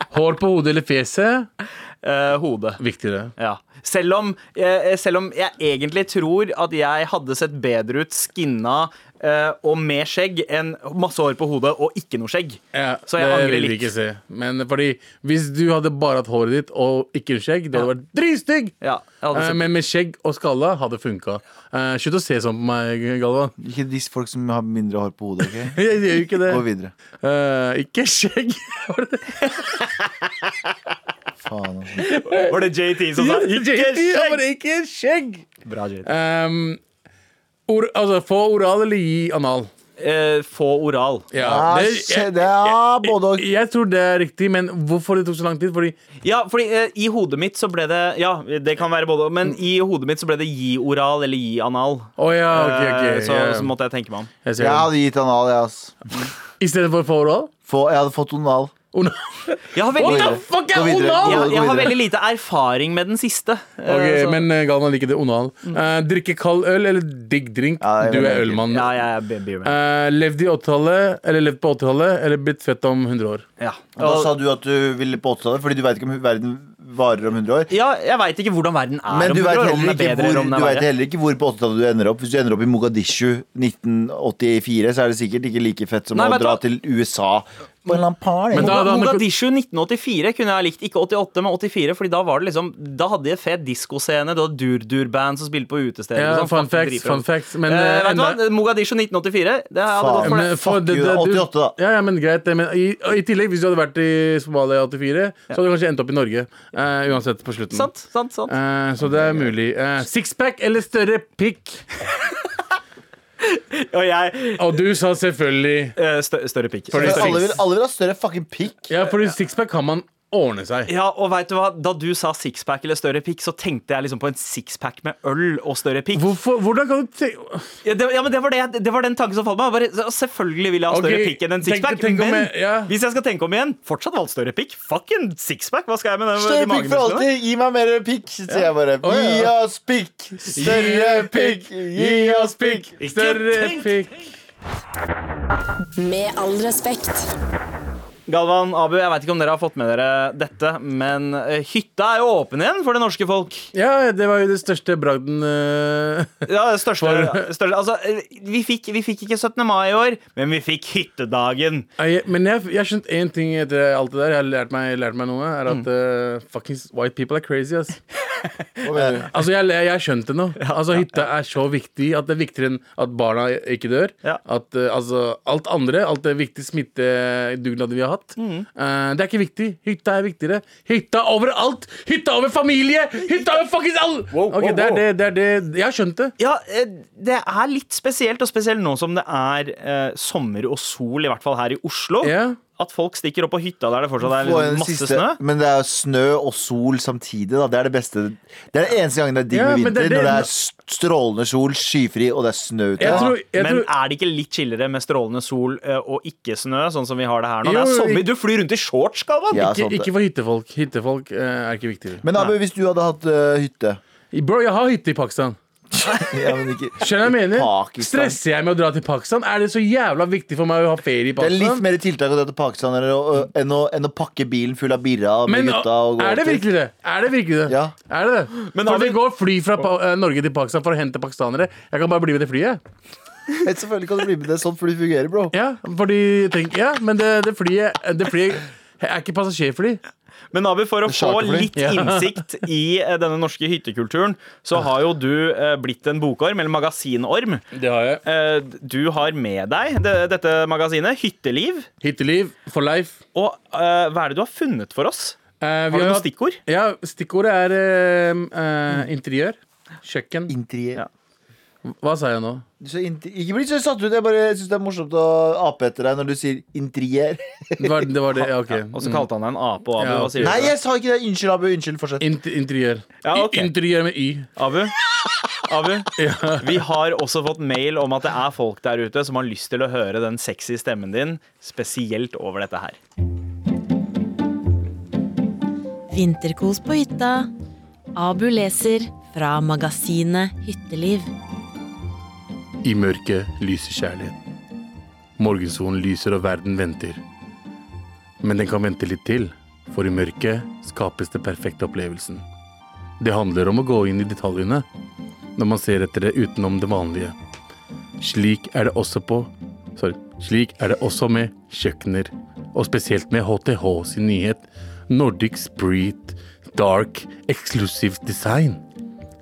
Speaker 4: hår på hodet eller fjeset?
Speaker 2: Eh, hodet.
Speaker 4: Viktigere.
Speaker 2: Ja. Selv om, eh, selv om jeg egentlig tror at jeg hadde sett bedre ut skinna eh, og med skjegg enn masse hår på hodet og ikke noe skjegg.
Speaker 4: Ja,
Speaker 2: Så jeg
Speaker 4: det
Speaker 2: angrer
Speaker 4: vil vi
Speaker 2: litt.
Speaker 4: Ikke se. Men fordi hvis du hadde bare hatt håret ditt og ikke en skjegg, det hadde vært dritstygg!
Speaker 2: Ja, jeg hadde
Speaker 4: Eh,
Speaker 2: sett-
Speaker 4: men med skjegg og skalla hadde funka. Eh, slutt å se sånn på meg, Galvan.
Speaker 3: Ikke diss folk som har mindre hår på hodet. ok?
Speaker 4: Jeg gjør jo ikke det.
Speaker 3: Gå videre.
Speaker 4: Eh, ikke skjegg.
Speaker 3: Faen, altså.
Speaker 2: Var det JT som sa 'ikke
Speaker 4: Ja,
Speaker 2: skjegg'?
Speaker 4: bare ikke skjegg!
Speaker 2: Bra, JT.
Speaker 4: Um, or, altså, få oral eller gi anal.
Speaker 2: Eh, få oral.
Speaker 4: Ja,
Speaker 3: Ja,
Speaker 2: Ah,
Speaker 4: det,
Speaker 3: skje-
Speaker 4: jeg,
Speaker 3: det er både og.
Speaker 4: jeg tror det er riktig, men hvorfor det tok så lang tid? Fordi
Speaker 2: Ja, fordi eh, i hodet mitt så ble det Ja, det kan være både Men i hodet mitt så ble det gi oral eller gi anal.
Speaker 4: Å ja,
Speaker 7: Ah,
Speaker 4: ok, ok.
Speaker 2: Eh, så,
Speaker 4: ja.
Speaker 2: så måtte jeg tenke meg om.
Speaker 4: jeg ser
Speaker 3: Jeg
Speaker 4: det.
Speaker 3: hadde gitt anal, jeg, ass.
Speaker 4: I stedet for få oral?
Speaker 3: Få, jeg hadde fått onal.
Speaker 4: Ona-
Speaker 2: Jeg har
Speaker 4: What
Speaker 2: veldig,
Speaker 4: the
Speaker 2: jeg,
Speaker 3: videre.
Speaker 4: fuck
Speaker 3: Gå
Speaker 4: er
Speaker 3: videre.
Speaker 4: onal?!
Speaker 3: Gå-
Speaker 2: jeg har
Speaker 3: videre.
Speaker 2: veldig lite erfaring med den siste. eh,
Speaker 4: Ok,
Speaker 2: så-
Speaker 4: Men eh, Galvan liker det onal. Eh, drikke kald øl eller digg drink?
Speaker 3: Ja, jeg
Speaker 4: du
Speaker 3: vet
Speaker 4: er
Speaker 3: ikke.
Speaker 4: ølmann.
Speaker 2: Mm. Ja, jeg er be- beer man.
Speaker 4: Eh, levd i 80-tallet, eller levd på 80-tallet, eller blitt fett om 100 år?
Speaker 2: Ja.
Speaker 7: Da sa
Speaker 2: Og,
Speaker 7: du at du ville på 80-tallet, fordi du veit ikke om verden varer om 100 år.
Speaker 2: ja, jeg veit ikke hvordan verden er
Speaker 7: Men
Speaker 2: om
Speaker 7: du
Speaker 2: det,
Speaker 7: veit
Speaker 2: om
Speaker 7: heller,
Speaker 2: den er
Speaker 7: ikke
Speaker 2: bedre
Speaker 7: hvor-
Speaker 2: eller om den
Speaker 7: du
Speaker 2: er
Speaker 7: vet
Speaker 2: verre.
Speaker 7: heller ikke hvor på 80-tallet du ender opp. Hvis du ender opp i Mogadishu 1984, så er det sikkert ikke like fett som
Speaker 2: Nei,
Speaker 7: å
Speaker 2: vet du
Speaker 7: dra
Speaker 2: hva?
Speaker 7: til USA. På en eller annen par,
Speaker 4: Men
Speaker 7: eller?
Speaker 4: da- da-
Speaker 2: Mogadishu 1984 kunne jeg ha likt. Ikke 88, men 84. Fordi da var det liksom Da hadde de et fet diskoscene. Du hadde Dur-Dur-band som spilte på utesteder.
Speaker 4: Ja,
Speaker 2: og sånn.
Speaker 4: fun
Speaker 2: Fuck,
Speaker 4: facts,
Speaker 2: driver
Speaker 4: fun
Speaker 2: om.
Speaker 4: facts, men,
Speaker 2: eh,
Speaker 4: eh,
Speaker 2: vet du hva?
Speaker 4: enda-
Speaker 2: Mogadishu 1984. Det hadde
Speaker 7: Faen.
Speaker 2: gått for
Speaker 4: Men
Speaker 2: det.
Speaker 4: for
Speaker 7: Fuck you,
Speaker 4: det- du-
Speaker 7: 88 da.
Speaker 4: Ja, ja, men greit det. Men i, og i tillegg, hvis du hadde vært i Somalia i 84, så hadde du kanskje endt opp i Norge. eh, uansett, på slutten.
Speaker 2: Sant, sant, sant.
Speaker 4: Eh, så det er mulig. Eh, Sixpack eller større pikk?
Speaker 2: Og jeg
Speaker 4: Og du sa selvfølgelig
Speaker 2: eh, stø Større pikk.
Speaker 4: Fordi-
Speaker 7: Men alle, vil, alle vil ha større fucking pikk.
Speaker 4: Ja, fordi sixpack kan man ordne seg.
Speaker 2: Ja, og vet du hva? Da du sa sixpack eller større pikk, så tenkte jeg liksom på en sixpack med øl og større pikk.
Speaker 4: Hvorfor, hvordan kan du te
Speaker 2: Ja, det, ja, men det var, det, det var den tanken som falt meg. Bare, så- selvfølgelig vil jeg ha
Speaker 4: Ok,
Speaker 2: større pikk enn en
Speaker 4: tenk-
Speaker 2: sixpack.
Speaker 4: tenk om
Speaker 2: Men
Speaker 4: jeg- ja.
Speaker 2: hvis jeg skal tenke om igjen, fortsatt valgt større pikk. Fuck en sixpack! Hva skal jeg med den?
Speaker 7: Større
Speaker 2: de
Speaker 7: pikk for
Speaker 2: magemusklene?
Speaker 7: alltid! Gi meg mer pikk, sier jeg bare.
Speaker 4: Å, ja.
Speaker 7: Gi oss pikk! Større pikk! Gi oss pikk!
Speaker 4: Større pikk.
Speaker 1: Med all respekt.
Speaker 2: Galvan, Abu, jeg vet ikke om dere har fått med dere dette, men eh, hytta er jo åpen igjen for det norske folk.
Speaker 4: Ja, det var jo det største bragden eh,
Speaker 2: Ja, det største,
Speaker 4: For-
Speaker 2: største Altså, eh, vi fikk, vi fikk ikke 17. mai i år, men vi fikk hyttedagen.
Speaker 4: Jeg- Men jeg jeg har skjønt én ting etter alt det der. Jeg har lært meg, lært meg noe. Er
Speaker 7: Mm.
Speaker 4: at eh, fuckings white people are crazy, ass.
Speaker 7: Hva mener du?
Speaker 4: Altså, jeg, jeg har skjønt det nå. Altså, Hytta er så viktig at det er viktigere enn at barna ikke dør.
Speaker 2: Ja.
Speaker 4: At eh, altså, alt andre, alt det viktige smittedugnaden vi har hatt,
Speaker 7: Mm.
Speaker 4: eh, det er ikke viktig. Hytta er viktigere. Hytta over alt! Hytta over familie! Hytta over fuckings all... Ok, det er det, det er det. Jeg har skjønt det.
Speaker 2: Ja, eh, det er litt spesielt, og spesielt nå som det er eh, sommer og sol, i hvert fall her i Oslo.
Speaker 4: Ja.
Speaker 2: At folk stikker opp på hytta der det fortsatt er
Speaker 3: Få en
Speaker 2: liksom masse
Speaker 3: siste-
Speaker 2: snø.
Speaker 7: Men det er snø og sol samtidig. Da. Det er det beste Det er den eneste gangen det er digg
Speaker 4: Ja,
Speaker 7: med
Speaker 4: men det
Speaker 7: vinter.
Speaker 4: er det-
Speaker 7: Når det er st- strålende sol, skyfri, og det er snø ute.
Speaker 4: Jeg tror, jeg
Speaker 2: Men
Speaker 4: tror,
Speaker 2: er det ikke litt chillere med strålende sol eh, og ikke snø, sånn som vi har det her nå?
Speaker 4: Jo,
Speaker 2: det er sommer,
Speaker 4: ikke-
Speaker 2: du flyr rundt i shorts, Galvan!
Speaker 7: Ja, sant
Speaker 4: ikke,
Speaker 7: det.
Speaker 4: ikke for hyttefolk. Hyttefolk eh, er ikke viktig.
Speaker 7: Men Abu, hvis du hadde hatt eh, hytte
Speaker 4: Bro, jeg har hytte i Pakistan.
Speaker 7: ja, men ikke.
Speaker 4: Skjønner du hva jeg mener?
Speaker 7: Pakistan.
Speaker 4: Stresser jeg med å dra til Pakistan? Er det så jævla viktig for meg å ha ferie i
Speaker 7: Det er litt
Speaker 4: Pakistan?
Speaker 7: mer tiltak å dra til Pakistan eller, å- eh, enn å, enn å pakke bilen full av birra med
Speaker 4: Men
Speaker 7: gutta og gå
Speaker 4: er det
Speaker 7: til-
Speaker 4: virkelig det? Er det virkelig det?
Speaker 7: Ja.
Speaker 4: Er det det?
Speaker 2: Men har
Speaker 4: for
Speaker 2: vi-
Speaker 4: det går fly fra pa eh, Norge til Pakistan for å hente pakistanere. Jeg kan bare bli med det flyet.
Speaker 7: Men Selvfølgelig kan du bli med det sånn, for det fungerer, bro.
Speaker 4: Ja, fordi tenk, ja men det, det flyet Det flyet er ikke passasjerfly.
Speaker 2: Men Abu, for å få
Speaker 7: Charterfly.
Speaker 2: litt
Speaker 4: Ja.
Speaker 2: innsikt i eh, denne norske hyttekulturen, så har jo du eh, blitt en bokorm, eller magasinorm.
Speaker 4: Det har jeg.
Speaker 2: Eh, Du har med deg det- dette magasinet, Hytteliv.
Speaker 4: Hytteliv for life.
Speaker 2: Og eh, hva er det du har funnet for oss?
Speaker 4: Eh, vi
Speaker 2: Har du noen
Speaker 4: hatt-
Speaker 2: stikkord?
Speaker 4: Ja, stikkordet er eh, eh, interiør. Kjøkken.
Speaker 7: Interiør.
Speaker 2: Ja.
Speaker 4: Hva sa jeg nå?
Speaker 7: Så inter- ikke bli så satt ut. Jeg bare syns det er morsomt å ape etter deg når du sier interiør.
Speaker 4: Det var det. Var det ja, ok.
Speaker 2: Og så kalte han deg en ape. Og Abu,
Speaker 4: Ja,
Speaker 2: hva sier
Speaker 7: Nei,
Speaker 2: du? til det?
Speaker 7: jeg sa ikke det. Unnskyld, Abu. Unnskyld. Fortsett.
Speaker 4: Int interiør.
Speaker 2: Ja, ok.
Speaker 4: I- Interiør med Y.
Speaker 2: Abu? Abu, vi har også fått mail om at det er folk der ute som har lyst til å høre den sexy stemmen din, spesielt over dette her.
Speaker 8: Vinterkos på hytta. Abu leser fra magasinet Hytteliv.
Speaker 4: I mørket lyser kjærlighet. Morgensolen lyser og verden venter. Men den kan vente litt til, for i mørket skapes den perfekte opplevelsen. Det handler om å gå inn i detaljene når man ser etter det utenom det vanlige. Slik er det også på Sorry. Slik er det også med kjøkkener, og spesielt med HTH sin nyhet Nordic Spirit Dark Exclusive Design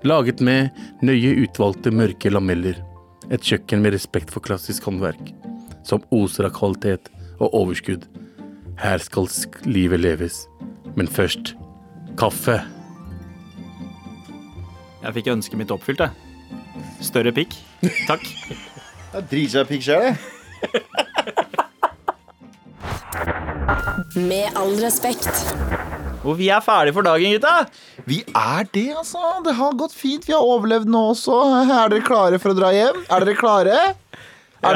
Speaker 4: laget med nøye utvalgte mørke lameller. Et kjøkken med respekt for klassisk håndverk, som oser av kvalitet og overskudd. Her skal sk- livet leves. Men først kaffe.
Speaker 2: Jeg fikk ønsket mitt oppfylt, jeg. Større pikk. Takk.
Speaker 7: Driter seg pikk sjøl, jeg.
Speaker 1: Med all respekt.
Speaker 2: Og vi er ferdige for dagen, gutta.
Speaker 3: Vi er det, altså. Det har gått fint. Vi har overlevd nå også. Er dere klare for å dra hjem? Er dere klare? Er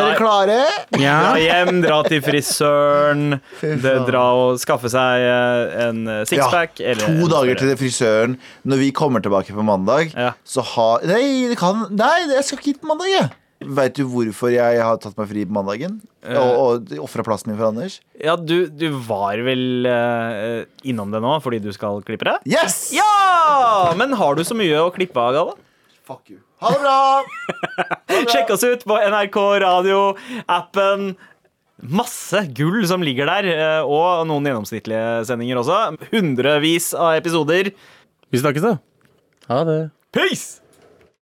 Speaker 3: dere
Speaker 2: Ja.
Speaker 3: klare?
Speaker 2: Dra hjem, dra til frisøren, det, dra og skaffe seg eh, en eh, sixpack.
Speaker 3: Ja,
Speaker 2: eller
Speaker 3: to
Speaker 2: en
Speaker 3: dager
Speaker 2: større.
Speaker 3: til frisøren. Når vi kommer tilbake på mandag,
Speaker 2: Ja.
Speaker 3: så har Nei, det kan Nei, jeg skal ikke hit på mandag, jeg. Veit du hvorfor jeg har tatt meg fri på mandagen?
Speaker 2: Eh.
Speaker 3: Og, og ofra plassen min for Anders?
Speaker 2: Ja, du, du var vel eh, innom det nå fordi du skal klippe det?
Speaker 3: Yes!
Speaker 2: Ja! Men har du så mye å klippe av, Galvan?
Speaker 3: Fuck you. Ha det bra!
Speaker 2: Sjekk oss ut på NRK Radio-appen. Masse gull som ligger der, eh, og noen gjennomsnittlige sendinger også. Hundrevis av episoder.
Speaker 4: Vi snakkes, da. Ha det.
Speaker 2: Peace!